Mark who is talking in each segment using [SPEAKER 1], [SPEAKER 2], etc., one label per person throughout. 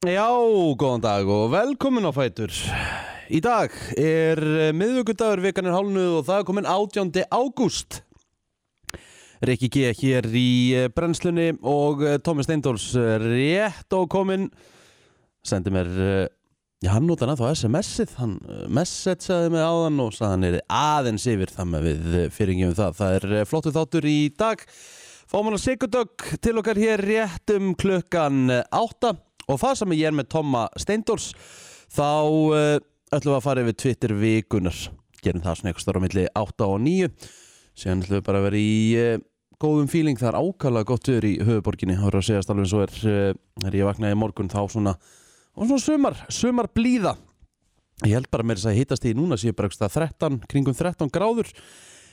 [SPEAKER 1] Já, góðan dag og velkomin á Fætur. Í dag er eh, miðvikudagur, vikan er hálnuð og það er komin 18. ágúst. Rikki G. hér í eh, brennslunni og eh, Tómi Steindóls eh, rétt og komin. Sendi mér, eh, já hann notar hann þá SMS-ið, hann eh, messageaði mig áðan og sagði hann er aðeins yfir það með við fyrirgjum það. Það er eh, flottur þáttur í dag. Fáum hann að Sigurdögg til okkar hér rétt um klukkan eh, átta og það sem ég er með Tomma Steindors þá uh, ætlum við að fara yfir Twitter vikunar gerum það svona einhvers þar á milli átta og níu síðan ætlum við bara að vera í uh, góðum feeling, það er ákala gott viður í höfuborginni, það voru að segja alveg eins og er uh, er ég vaknaði í morgun þá svona og svona sumar, sumar blíða ég held bara með þess að hittast í núna sé bara einhvers staðar 13, kringum 13 gráður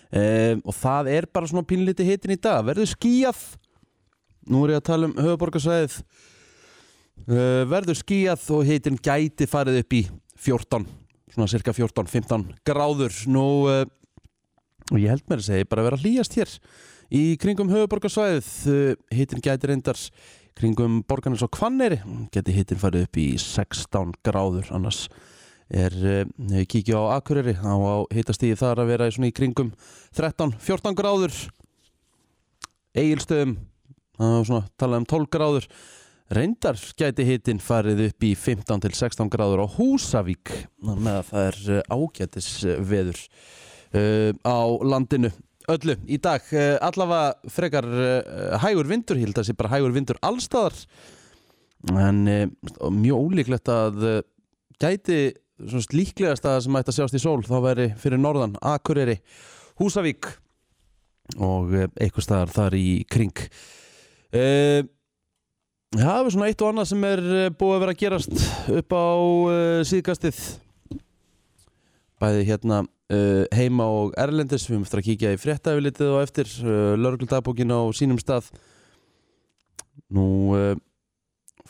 [SPEAKER 1] Um, og það er bara svona pínliti hitin í dag verður skíjað nú er ég að tala um höfuborgarsæðið uh, verður skíjað og hitin gæti farið upp í 14 svona cirka 14-15 gráður nú uh, og ég held mér að segja bara að vera að hlýjast hér í kringum höfuborgarsæðið uh, hitin gæti reyndar kringum borgarnes og kvanneri geti hitin farið upp í 16 gráður annars er, uh, ef við kíkja á Akureyri þá á hitastíði þar að vera í svona í kringum 13-14 gráður Egilstöðum það var svona talað um 12 gráður reyndar gæti hitin farið upp í 15-16 gráður á Húsavík þar með að það er eh, ágætis eh, veður uh, á landinu öllu í dag uh, allavega frekar uh, hægur vindur, ég held að sé bara hægur vindur allstaðar en uh, mjög ólíklegt að uh, gæti svona líklegast að það sem ætti að sjást í sól þá væri fyrir norðan, Akureyri Húsavík og eh, einhvers staðar þar í kring Eh, Það er svona eitt og annað sem er eh, búið að vera að gerast upp á eh, síðkastið bæði hérna eh, heima og erlendis við höfum eftir að kíkja í fréttaefilitið og eftir lörguldagbókin á sínum stað Nú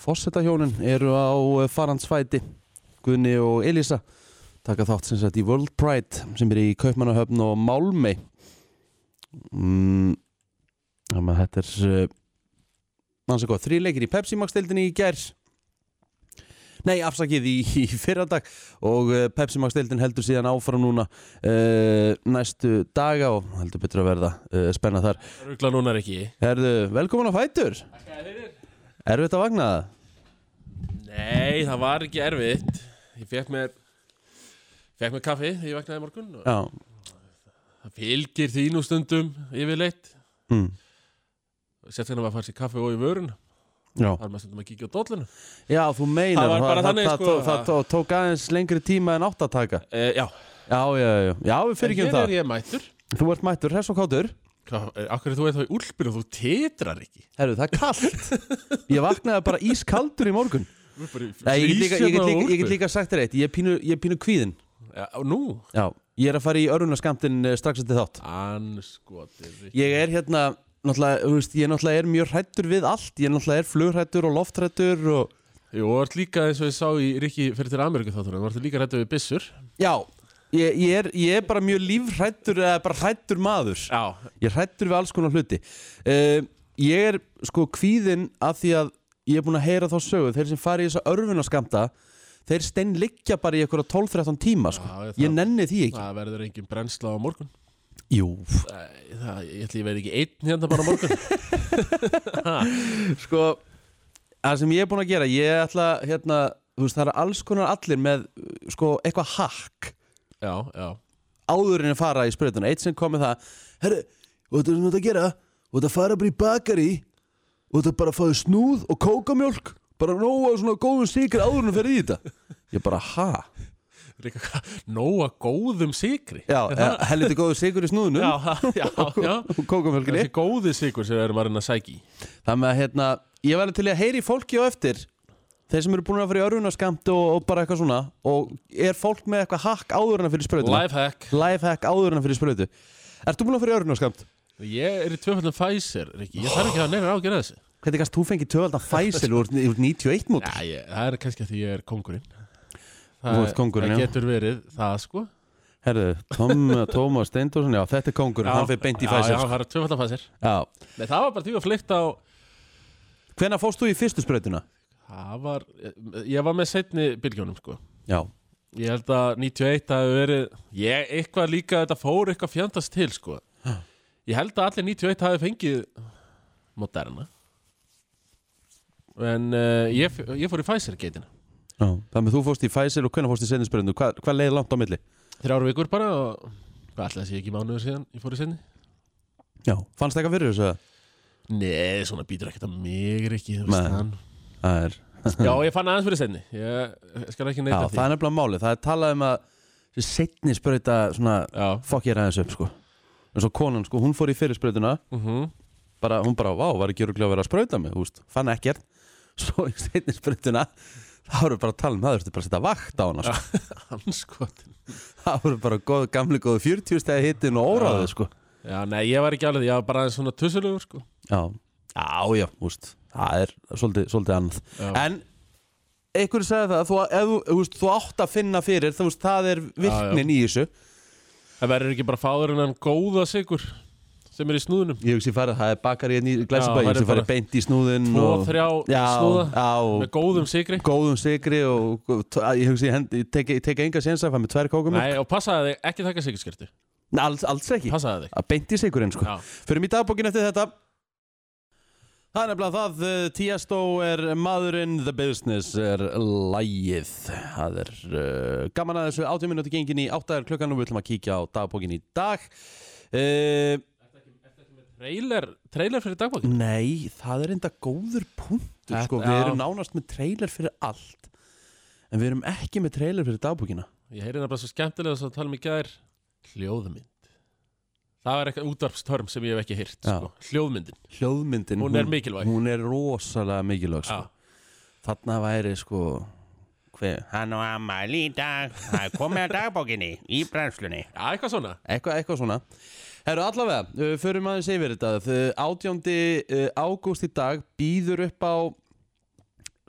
[SPEAKER 1] fórsetahjónin eru á eh, farandsfæti Guðni og Elisa taka þátt sem sagt í World Pride sem er í Kaupmannahöfn og Málmei mm, þannig að þetta er uh, manns að góð þríleikir í Pepsi Max deildinni í gær Nei, afsakið í, í fyrradag og uh, Pepsi Max deildin heldur síðan áfram núna uh, næstu daga og heldur betur að verða uh, spenna þar.
[SPEAKER 2] Rugla núna er ekki
[SPEAKER 1] Herðu, velkomin á Fætur! Erfitt að vakna það?
[SPEAKER 2] Nei, það var ekki erfitt Ég fekk mér Fekk mér kaffi þegar ég vaknaði í morgun og
[SPEAKER 1] Já.
[SPEAKER 2] Það fylgir því nú stundum yfirleitt
[SPEAKER 1] Mm.
[SPEAKER 2] Sérstaklega maður fær sér kaffi og í vörun
[SPEAKER 1] Já.
[SPEAKER 2] Það er maður stundum að kíkja á dollunum
[SPEAKER 1] Já, þú meinar,
[SPEAKER 2] Það var bara þannig,
[SPEAKER 1] það,
[SPEAKER 2] sko,
[SPEAKER 1] það, það, tók aðeins lengri tíma en átt að taka
[SPEAKER 2] e, Já,
[SPEAKER 1] Eh, Já, já, já, já, við fyrir ekki um
[SPEAKER 2] hér
[SPEAKER 1] það eh,
[SPEAKER 2] er ég mættur
[SPEAKER 1] Þú ert mættur, hress og kátur
[SPEAKER 2] Akkur er þú eða þá í úlpinu og þú titrar ekki
[SPEAKER 1] Herru, það er kallt Ég vaknaði bara ískaldur í morgun
[SPEAKER 2] Þú ert bara í
[SPEAKER 1] Nei, ég get líka, ég get
[SPEAKER 2] flýsirnar á
[SPEAKER 1] líka, ég get
[SPEAKER 2] úlpu.
[SPEAKER 1] líka sagt þér eitt Ég er pínu, ég er pínu kvíðin
[SPEAKER 2] Já, á, Nú,
[SPEAKER 1] Já, ég er að fara í örunaskamtin strax eftir þátt
[SPEAKER 2] anskotir
[SPEAKER 1] Ég er hérna, náttúrulega, þú veist, ég náttúrulega er mjög hrættur við allt Ég náttúrulega er flugrættur og loftrættur og...
[SPEAKER 2] Jú, þú ert líka eins og ég sá í Rikki fyrir til Ameríku þáttunum Þú ert líka rættu við byssur
[SPEAKER 1] Já, ég, ég, er, ég er bara mjög lífrættur eða bara hrættur maður
[SPEAKER 2] Já,
[SPEAKER 1] Ég hrættur við alls konar hluti uh, Ég er sko kvíðinn að því að ég er búinn að heyra þá sögu þeir sem fara í þessa örfunaskamta þeir stein liggja bara í einhverja 12-13 tíma sko.
[SPEAKER 2] Já, ég-
[SPEAKER 1] ég nenni því ekki
[SPEAKER 2] það verður engin brennsla á morgun
[SPEAKER 1] Jú,
[SPEAKER 2] Nei, það, ég ætla ég verði ekki einn hérna bara á morgun
[SPEAKER 1] sko það sem ég er búinn að gera, ég ætla hérna, þú veist, það er alls konar allir með uh, sko eitthvað hakk
[SPEAKER 2] Já, já
[SPEAKER 1] áður en að fara í sprautuna eitt sem kom með það herru, og þetta er svona þetta að gera og þetta fara bara í bakari og þetta bara að fáið snúð og kókamjólk bara nóga svona góðum sikri áður en að fyrir í þetta ég bara ha
[SPEAKER 2] Ríka, hvað, nóa góðum sigri
[SPEAKER 1] já, ja, helviti góðu sikur í snúðunum
[SPEAKER 2] já, já, já
[SPEAKER 1] og kókamjólkinni
[SPEAKER 2] Þessi góði sigur sem við erum að reyna að sæki
[SPEAKER 1] það með að hérna, ég var alveg til í að heyri fólki á eftir þeir sem eru búin að fara í örfunarskamt og, og bara eitthvað svona og er fólk með eitthvað hakk áður en að fyrir sprautuna
[SPEAKER 2] Lifehack
[SPEAKER 1] lifehack áður en að fyrir sprautu Ertu búin að fara í örfunarskamt?
[SPEAKER 2] Ég er í tvöfaldum Pfizer, Ríkki Ég þarf ekki að neina ágjörða þessu
[SPEAKER 1] Hvernig gæst þú fengið töfaldan Faisal úr, úr 91 mót?
[SPEAKER 2] Já, ég, það er kannski að því ég er kongurinn
[SPEAKER 1] Þú ert kóngurinn,
[SPEAKER 2] Það
[SPEAKER 1] já.
[SPEAKER 2] getur verið það, sko
[SPEAKER 1] Herðu, Tom, Tómas Steindorsson, já, þetta er kongurinn, hann fyrir beint í
[SPEAKER 2] já, Já,
[SPEAKER 1] Faisal.
[SPEAKER 2] það er tvöfaldum Pfizer
[SPEAKER 1] Já.
[SPEAKER 2] Nei, það var bara því að flykta á
[SPEAKER 1] Hvenær fórst þú í fyrstu spröytuna?
[SPEAKER 2] Það var, ég var með setni bylgjónum sko
[SPEAKER 1] Já,
[SPEAKER 2] Ég held að 91 hafi verið Ég, eitthvað líka, þetta fór eitthvað fjandast til sko Ég held að allir 91 hafi fengið Moderna En uh, ég, f- ég fór í Pfizer-geitina
[SPEAKER 1] já. Þannig að þú fórst í Pfizer og hvernig fórst í seinninsbyrjundu? Hvað, hvað leiði langt á milli?
[SPEAKER 2] Þrjár vikur bara og Hvað ætlaði þessi ekki mánuður síðan ég fór í setni?
[SPEAKER 1] Já, fannst það eitthvað fyrir þessu? eða?
[SPEAKER 2] Nei, svona býtur ekkert að mig er ekki þú
[SPEAKER 1] Nei.
[SPEAKER 2] veist hann.
[SPEAKER 1] Það er,
[SPEAKER 2] Já, ég fann aðeins fyrir setni Ég skal ekki
[SPEAKER 1] já,
[SPEAKER 2] neita
[SPEAKER 1] það er nefnilega málið. Það er talað um að seinninsbyrjunda svona
[SPEAKER 2] Já,
[SPEAKER 1] fokk ég ræðis upp sko. En svo konan sko, hún fór í fyrirspröytuna
[SPEAKER 2] mhm
[SPEAKER 1] bara, hún bara, vá, var ekki öruglega að vera að sprauta mig, þú veist, fann ekkert svo í steinni sprautuna þá voru bara að tala um það, þú veist, bara að setja vakt á hana sko.
[SPEAKER 2] Hanskotin
[SPEAKER 1] það voru bara góð, gamli góðu 40 stegi hittin og óráðið, sko
[SPEAKER 2] Já, nei, ég var ekki alveg, ég var bara aðeins svona tussulegur sko
[SPEAKER 1] já, já, já, þú veist það er svolítið, svolítið annað
[SPEAKER 2] Já.
[SPEAKER 1] en, einhverju sagði það að þú, ef, þú- þú veist, þú átt að finna fyrir þú veist, það er virknin í þessu
[SPEAKER 2] Það verður ekki bara fáður en hann góða sigur sem er í snúðunum
[SPEAKER 1] ég hugsi farið, það er bakar í glæsibæ
[SPEAKER 2] Já,
[SPEAKER 1] ég hugsi
[SPEAKER 2] væri bara
[SPEAKER 1] farið beint í snúðin
[SPEAKER 2] Tvo,
[SPEAKER 1] og-
[SPEAKER 2] þrjá
[SPEAKER 1] já,
[SPEAKER 2] snúða
[SPEAKER 1] já,
[SPEAKER 2] með góðum sigri
[SPEAKER 1] góðum sigri og og t- að ég hugsi, ég, hendi- ég tek, ég tek enga sensa að fæ með tvær kókum
[SPEAKER 2] Nei, og passaði þig, ekki taka sigurskertu
[SPEAKER 1] alls, alls ekki,
[SPEAKER 2] Passaði þig
[SPEAKER 1] að beint í sigurinn sko.
[SPEAKER 2] Já,
[SPEAKER 1] fyrir mig dagbókin eftir þetta það er nefnilega það eh, Tiesto er maðurinn The Business er lægið það er uh, gaman að þessu 80 minúti gengin í 8 er klukkan og við ætlum að kíkja á dagbókin í dag uh,
[SPEAKER 2] trailer, trailer fyrir dagbókin
[SPEAKER 1] nei, það er enda góður punktur
[SPEAKER 2] Þetta-
[SPEAKER 1] sko. við
[SPEAKER 2] já.
[SPEAKER 1] erum nánast með trailer fyrir allt en við erum ekki með trailer fyrir dagbókina
[SPEAKER 2] Ég heyri það bara svo skemmtilega þess að tala um í gær Hljóðmynd Það er eitthvað útvarpstörm sem ég hef ekki heyrt
[SPEAKER 1] Já.
[SPEAKER 2] sko. Hljóðmyndin,
[SPEAKER 1] hljóðmyndin
[SPEAKER 2] hún er mikilvæg
[SPEAKER 1] hún er rosalega mikilvæg sko.
[SPEAKER 2] Já,
[SPEAKER 1] þarna væri sko hver,
[SPEAKER 3] Hann og ammæli í dag, það er komið að dagbókinni í brennslunni.
[SPEAKER 2] Já, eitthvað svona
[SPEAKER 1] eitthvað, eitthvað svona Herru allavega, uh, förum aðeins yfir þetta Þau- 18. ágúst í dag býður upp á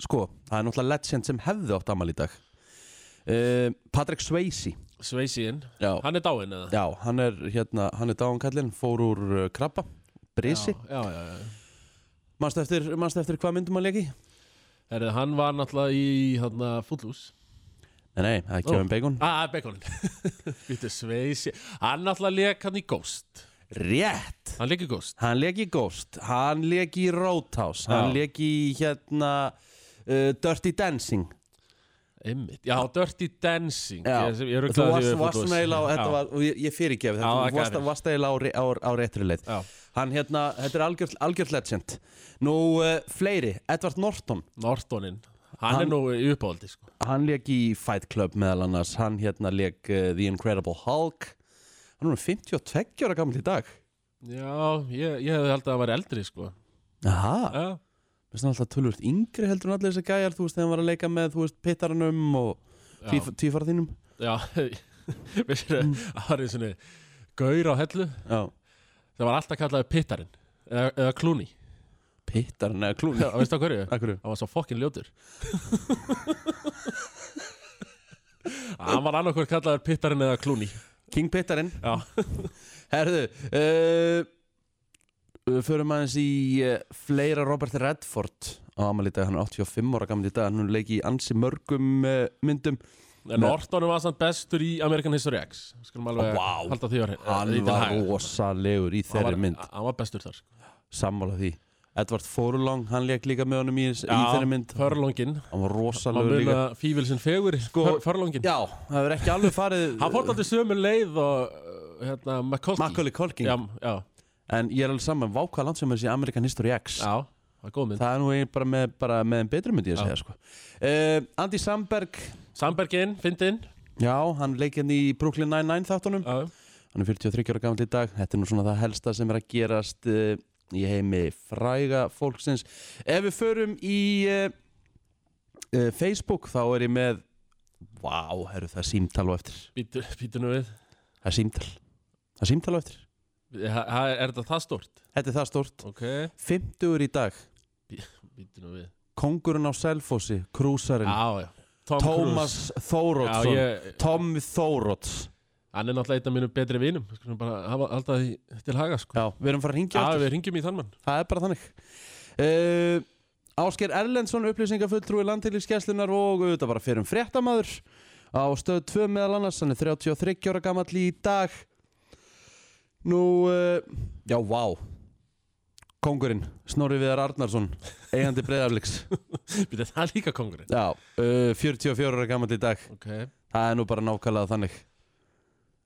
[SPEAKER 1] sko, það er náttúrulega legend sem hefði átt amal í dag uh, Patrick Swayze
[SPEAKER 2] Sveisiðin,
[SPEAKER 1] já.
[SPEAKER 2] hann er dáinn eða
[SPEAKER 1] já, hann er hérna, hann er dáankallinn fór úr uh, krabba, brisi
[SPEAKER 2] já, já, já.
[SPEAKER 1] manstu eftir, manstu eftir hvað myndum að leki?
[SPEAKER 2] Herrið, hann var náttúrulega í þarna, Footloose
[SPEAKER 1] Nei, nei, það er Kevin Bacon
[SPEAKER 2] Ah, Baconin Býttu sveisi Hann náttúrulega leik hann í Ghost
[SPEAKER 1] Rétt!
[SPEAKER 2] Hann leik í Ghost
[SPEAKER 1] Hann leik í Ghost, hann leik í Roadhouse, hann
[SPEAKER 2] Já.
[SPEAKER 1] leik í hérna uh, Dirty Dancing
[SPEAKER 2] Einmitt Já, Dirty Dancing
[SPEAKER 1] Já.
[SPEAKER 2] Ég, ég
[SPEAKER 1] Þú varst,
[SPEAKER 2] rugglaði því við
[SPEAKER 1] varst
[SPEAKER 2] Footloose.
[SPEAKER 1] svona eiginlega á, þetta
[SPEAKER 2] Já.
[SPEAKER 1] var, og ég, ég fyrirgef
[SPEAKER 2] Já,
[SPEAKER 1] þetta,
[SPEAKER 2] það
[SPEAKER 1] þú varst,
[SPEAKER 2] gæfir.
[SPEAKER 1] varst eiginlega á, á, á réttri leið
[SPEAKER 2] Já.
[SPEAKER 1] Hann hérna, þetta er algjört algjör legend Nú, uh, fleiri, Edvard Norton,
[SPEAKER 2] Nortonin Hann,
[SPEAKER 1] Hann-
[SPEAKER 2] er nú í uppáhaldi sko.
[SPEAKER 1] hann leik í Fight Club meðal annars Hann hérna leik uh, The Incredible Hulk Hann er nú 52 ára gammal í dag
[SPEAKER 2] Já, ég, ég hefði held að það var eldri sko.
[SPEAKER 1] Aha,
[SPEAKER 2] Já,
[SPEAKER 1] þess að alltaf tölvöld yngri heldur en allir þessi gæjar, þú veist, þegar hann var að leika með, þú veist, pittaranum og
[SPEAKER 2] já,
[SPEAKER 1] tífara þínum
[SPEAKER 2] já. Vissir,
[SPEAKER 1] Mm.
[SPEAKER 2] Það var einu svona Gaur á hellu
[SPEAKER 1] Já,
[SPEAKER 2] Það var alltaf kallaði Pittarinn Eða, eða Clooney
[SPEAKER 1] pittaran eða klúni
[SPEAKER 2] Já, veistu á hverju?
[SPEAKER 1] Akkur
[SPEAKER 2] Hann var svo fokkin ljótur Hann var annarkur kallaður Pittarinn eða Clooney
[SPEAKER 1] King Pittarinn
[SPEAKER 2] Já.
[SPEAKER 1] Herðu uh, Förum aðeins í uh, fleira Robert Redford á amal í dag, hann er 85 ára gammal í dag hann leiki í ansi mörgum uh, myndum
[SPEAKER 2] En Norton var samt bestur í American History X Skulum alveg
[SPEAKER 1] Vá.
[SPEAKER 2] halda því var
[SPEAKER 1] hann var rosalegur í þeirri mynd
[SPEAKER 2] Hann var bestur þar sko.
[SPEAKER 1] sammála því Edvard Forlong, hann leik líka með honum í, í þeirri mynd
[SPEAKER 2] Förlongin
[SPEAKER 1] hann var
[SPEAKER 2] Hann
[SPEAKER 1] rosalegur
[SPEAKER 2] mun
[SPEAKER 1] líka
[SPEAKER 2] að fífil sinn fegur sko, Förlongin
[SPEAKER 1] Já, það hefur ekki alveg farið
[SPEAKER 2] Hann fórt alltaf sömu leið og uh, hérna, McCulkey
[SPEAKER 1] Macaulay Culkin
[SPEAKER 2] Já, já,
[SPEAKER 1] En ég er alveg saman, vákvað land sem er þessi American History X
[SPEAKER 2] já, það er góð mynd
[SPEAKER 1] Það er nú eiginlega bara með, bara með einn betri myndi ég að segja sko. uh, Andy Samberg
[SPEAKER 2] Sandbergin, Fyndin
[SPEAKER 1] Já, hann leik hérna í Brooklyn Nine-Nine þáttunum
[SPEAKER 2] Já,
[SPEAKER 1] Hann er 43 ára gammal í dag Þetta er nú svona það helsta sem er að gerast uh, í heimi fræga fólksins Ef við förum í uh, uh, Facebook þá er ég með Vá, herru, það er símtal á eftir
[SPEAKER 2] býtu, býtu nú við
[SPEAKER 1] Það er símtal Það er símtal á eftir
[SPEAKER 2] ha, ha, Er þetta það stort?
[SPEAKER 1] Þetta er það stort
[SPEAKER 2] Ok,
[SPEAKER 1] 50 í dag
[SPEAKER 2] býtu nú við
[SPEAKER 1] Kongurinn á Selfossi, Krúsarinn
[SPEAKER 2] Já, já Tom Cruise.
[SPEAKER 1] Tómas Þórótsson
[SPEAKER 2] Já, ég,
[SPEAKER 1] Tom Þóróts
[SPEAKER 2] hann er náttúrulega einn af mínum betri vinum Skulum bara hafa, halda því til haga sko.
[SPEAKER 1] Já, við erum fara að ringja
[SPEAKER 2] Já,
[SPEAKER 1] aftur
[SPEAKER 2] við ringjum í þann mann
[SPEAKER 1] Það er bara þannig uh, Ásker Erlendsson upplýsingafulltrúi landtilíkskjæslunar og auðvitað bara fyrir um fréttamaður á stöð 2 meðal annars, hann er 33 ára gamall í dag Nú, uh, já, vá Kongurinn, Snorri Viðar Arnarsson, eigandi breyðafliks
[SPEAKER 2] Býta, það er líka kongurinn
[SPEAKER 1] Já, uh, 44 ára gamall í dag
[SPEAKER 2] Ok,
[SPEAKER 1] Það er nú bara nákvæmlega þannig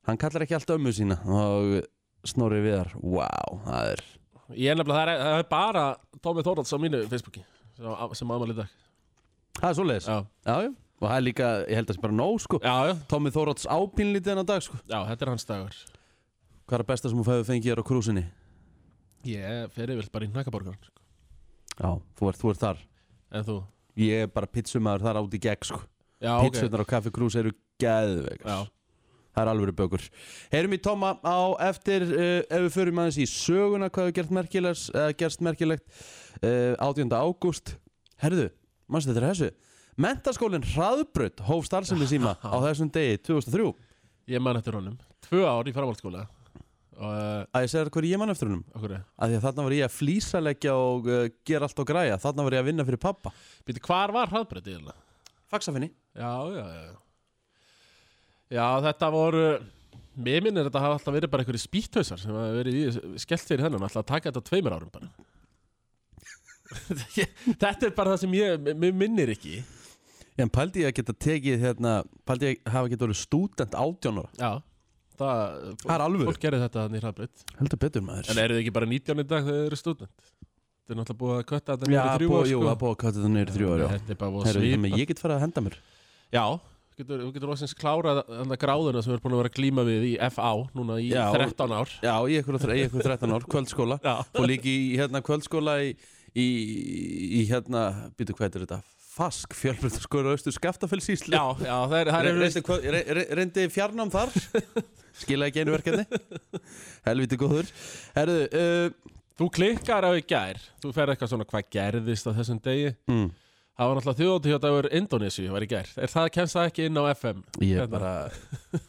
[SPEAKER 1] Hann kallar ekki allt ömmu sína og Snorri Viðar, vá, það er
[SPEAKER 2] ég er nefnilega, það er, það er bara Tómi Þóralds á mínu Facebooki sem, á- sem aðmæli í dag
[SPEAKER 1] Það er svoleiðis
[SPEAKER 2] Já,
[SPEAKER 1] Já, já, og það er líka, ég held að það sé bara nóg sko
[SPEAKER 2] já, já,
[SPEAKER 1] Tommy Þórótts ápínlítið hennar dag sko
[SPEAKER 2] já þetta er hans dagur
[SPEAKER 1] Hvað er að besta sem hún fæði fengið þér á krúsinni?
[SPEAKER 2] Ég fyrir vilt bara í hnakaborgar sko.
[SPEAKER 1] Já, þú ert, þú ert þar
[SPEAKER 2] En þú?
[SPEAKER 1] Ég er bara pizzumæður þar áti gegn sko
[SPEAKER 2] Já, ok
[SPEAKER 1] Pizzunar á kaffi krús eru
[SPEAKER 2] Já,
[SPEAKER 1] geðvegar Það er alveg bökur Heyrum í Tóma á eftir uh, Ef við förum aðeins í söguna Hvað hefur gert merkilegs, uh, gerst merkilegt uh, 18. ágúst Herðu, mannstu þetta er þessu Mentaskólinn Hraðbraut hóf starfsemi síma á þessum degi 2003
[SPEAKER 2] ég man eftir honum Tvö ár í framhaldsskóla Og, uh,
[SPEAKER 1] Að ég segja þér hverju ég mann eftir húnum
[SPEAKER 2] okkur eh, er
[SPEAKER 1] að því að þarna var ég að flísaleggja og uh, gera allt og græja, þarna var ég að vinna fyrir pappa
[SPEAKER 2] Býta, hvar var hraðbreytið eiginlega?
[SPEAKER 1] Faxafinni
[SPEAKER 2] Já, já, já Já, þetta voru Mér minnir þetta hafa alltaf verið bara einhverju spýthausar sem hafa verið í, skellt fyrir hennan alltaf að taka þetta á tveimur árum bara Þetta er bara það sem ég mér minnir ekki
[SPEAKER 1] En pældi ég að geta tekið hérna pældi ég að hafa geta orðið stúdent átjánur
[SPEAKER 2] Já Það,
[SPEAKER 1] Það er alvöru.
[SPEAKER 2] Fólk gerði þetta þannig hraðbreytt
[SPEAKER 1] Heldur betur maður
[SPEAKER 2] En eru þið ekki bara 19 í dag þegar þið eru stúdent? Þetta er náttúrulega búið að kötta þetta
[SPEAKER 1] Já,
[SPEAKER 2] niður í þrjú
[SPEAKER 1] búið-
[SPEAKER 2] ár,
[SPEAKER 1] jú,
[SPEAKER 2] sko.
[SPEAKER 1] það er búið að kvæta þetta niður í þrjú ára
[SPEAKER 2] Þetta er bara búið að
[SPEAKER 1] Herru, þannig
[SPEAKER 2] svipa
[SPEAKER 1] að ég get farið að henda mér
[SPEAKER 2] Já, þú getur, þú getur loksins klárað þannig gráðuna sem við erum búin að vera að glíma við í FA núna í
[SPEAKER 1] Já, og-
[SPEAKER 2] 13 ár
[SPEAKER 1] Já, ég ekkur, ég ekkur 13 ár, kvöldskóla
[SPEAKER 2] Já.
[SPEAKER 1] og líka í hérna kvöldskóla í, í, í hérna, býtu hvað er þetta Fask, fjölbreytarskóla og austur skaftafellsísli
[SPEAKER 2] Já, já, það er, það er
[SPEAKER 1] reyndi, hvað- re- re- reyndi fjarnám þar skilaði ekki einu verkefni helviti góður Herðu, uh,
[SPEAKER 2] Þú klikkar á í gær Þú fer eitthvað svona hvað gerðist á þessum degi
[SPEAKER 1] mm,
[SPEAKER 2] Það var náttúrulega þjóðatíðadagur Indonési var í gær Er það kemst það ekki inn á FM?
[SPEAKER 1] ég
[SPEAKER 2] Hérna.
[SPEAKER 1] bara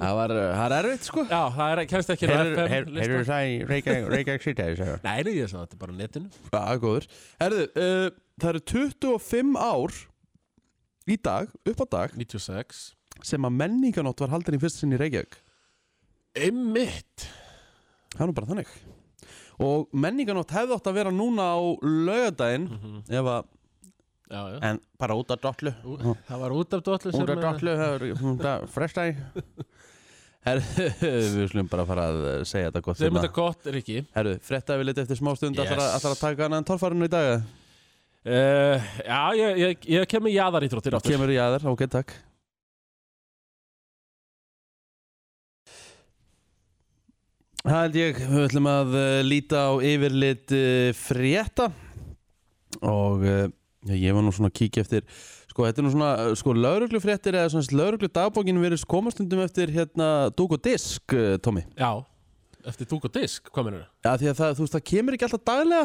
[SPEAKER 1] það var uh, það er erfitt sko
[SPEAKER 2] Já, það er, kemst ekki inn á FM
[SPEAKER 3] Hefur
[SPEAKER 2] listan.
[SPEAKER 3] það í Reykjavík Reykjavík City þessu?
[SPEAKER 2] Nei, nei, ég sagði þetta er bara á netinu
[SPEAKER 1] Já, góður Herðu, uh, það eru 25 ár í dag, upp á dag
[SPEAKER 2] 96
[SPEAKER 1] sem að menninganótt var haldin í fyrst sinn í Reykjavík
[SPEAKER 2] Einmitt
[SPEAKER 1] það er nú bara þannig og menninganótt hefði átt að vera núna á lögadaginn ef að,
[SPEAKER 2] Mhm. Já, já
[SPEAKER 1] en bara út af dollu
[SPEAKER 2] Ú, Það var út af dollu sem eh,
[SPEAKER 1] Út af dollu, hún það frestaði Herðu, við slum bara fara að eh, segja þetta gott
[SPEAKER 2] Sem
[SPEAKER 1] hérna
[SPEAKER 2] þetta gott er ekki
[SPEAKER 1] Herðu, frettaði við litið eftir smá stund yes.
[SPEAKER 2] Yes.
[SPEAKER 1] Ætlar að taka hana en torfarinu í dag
[SPEAKER 2] uh, Já, ég, ég, ég kem með jaðarítróttir áttur
[SPEAKER 1] Kemur í aðar, ok, takk Það held ég, við ætlum að eh, líta á yfirlit uh, frétta og uh, ég var nú svona að kíkja eftir sko, þetta er nú svona, eh, sko, lauruglu fréttir eða svona lauruglu dagbókin verið komastundum eftir hérna dúk og disk, uh, Tommy
[SPEAKER 2] Já, eftir dúk og disk, hvað mennur það?
[SPEAKER 1] Já, því að það, þú veist, það kemur ekki alltaf daglega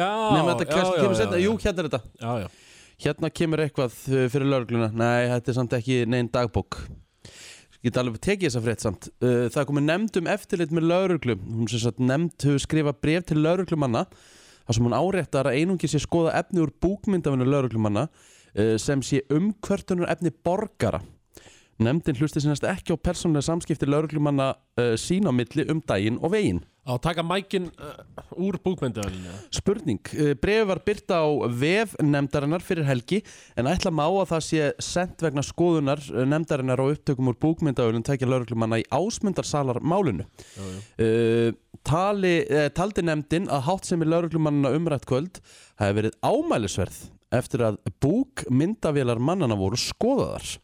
[SPEAKER 2] Já,
[SPEAKER 1] Nefnir þetta
[SPEAKER 2] já,
[SPEAKER 1] kannski
[SPEAKER 2] já,
[SPEAKER 1] kemur
[SPEAKER 2] já,
[SPEAKER 1] setna,
[SPEAKER 2] já.
[SPEAKER 1] jú, hérna er þetta
[SPEAKER 2] Já, já
[SPEAKER 1] Hérna kemur eitthvað uh, fyrir lögluna Nei, þetta er samt ekki neinn dagbók Ég get alveg tekið þessa frétt samt Uh, Það er komið nefnd um eftirlit með lögreglu Hún sem sagt nefnd hefur skrifað bref til lögreglumanna þar sem hún áréttar að einungi sé skoða efni úr búkmyndafinu lögreglumanna uh, sem sé umkvörtunar efni borgara Nefndin hlusti sinnast ekki á persónlega samskipti lögreglumanna uh, sín á milli um daginn og veginn
[SPEAKER 2] Á að taka mækin uh, úr búkmyndavelinu
[SPEAKER 1] Spurning, brefi var byrta á vef nefndarinnar fyrir helgi en ætla má að það sé sent vegna skoðunar eh, nefndarinnar á upptökum úr búkmyndaölun tækja lauruglumanna í ásmundarsalar málinu. Uh, tali, uh, taldi nefndin að háttsemi lauruglumanna umrætt kvöld hafi verið ámælisverð eftir að búkmyndavélar mannana voru skoðaðar.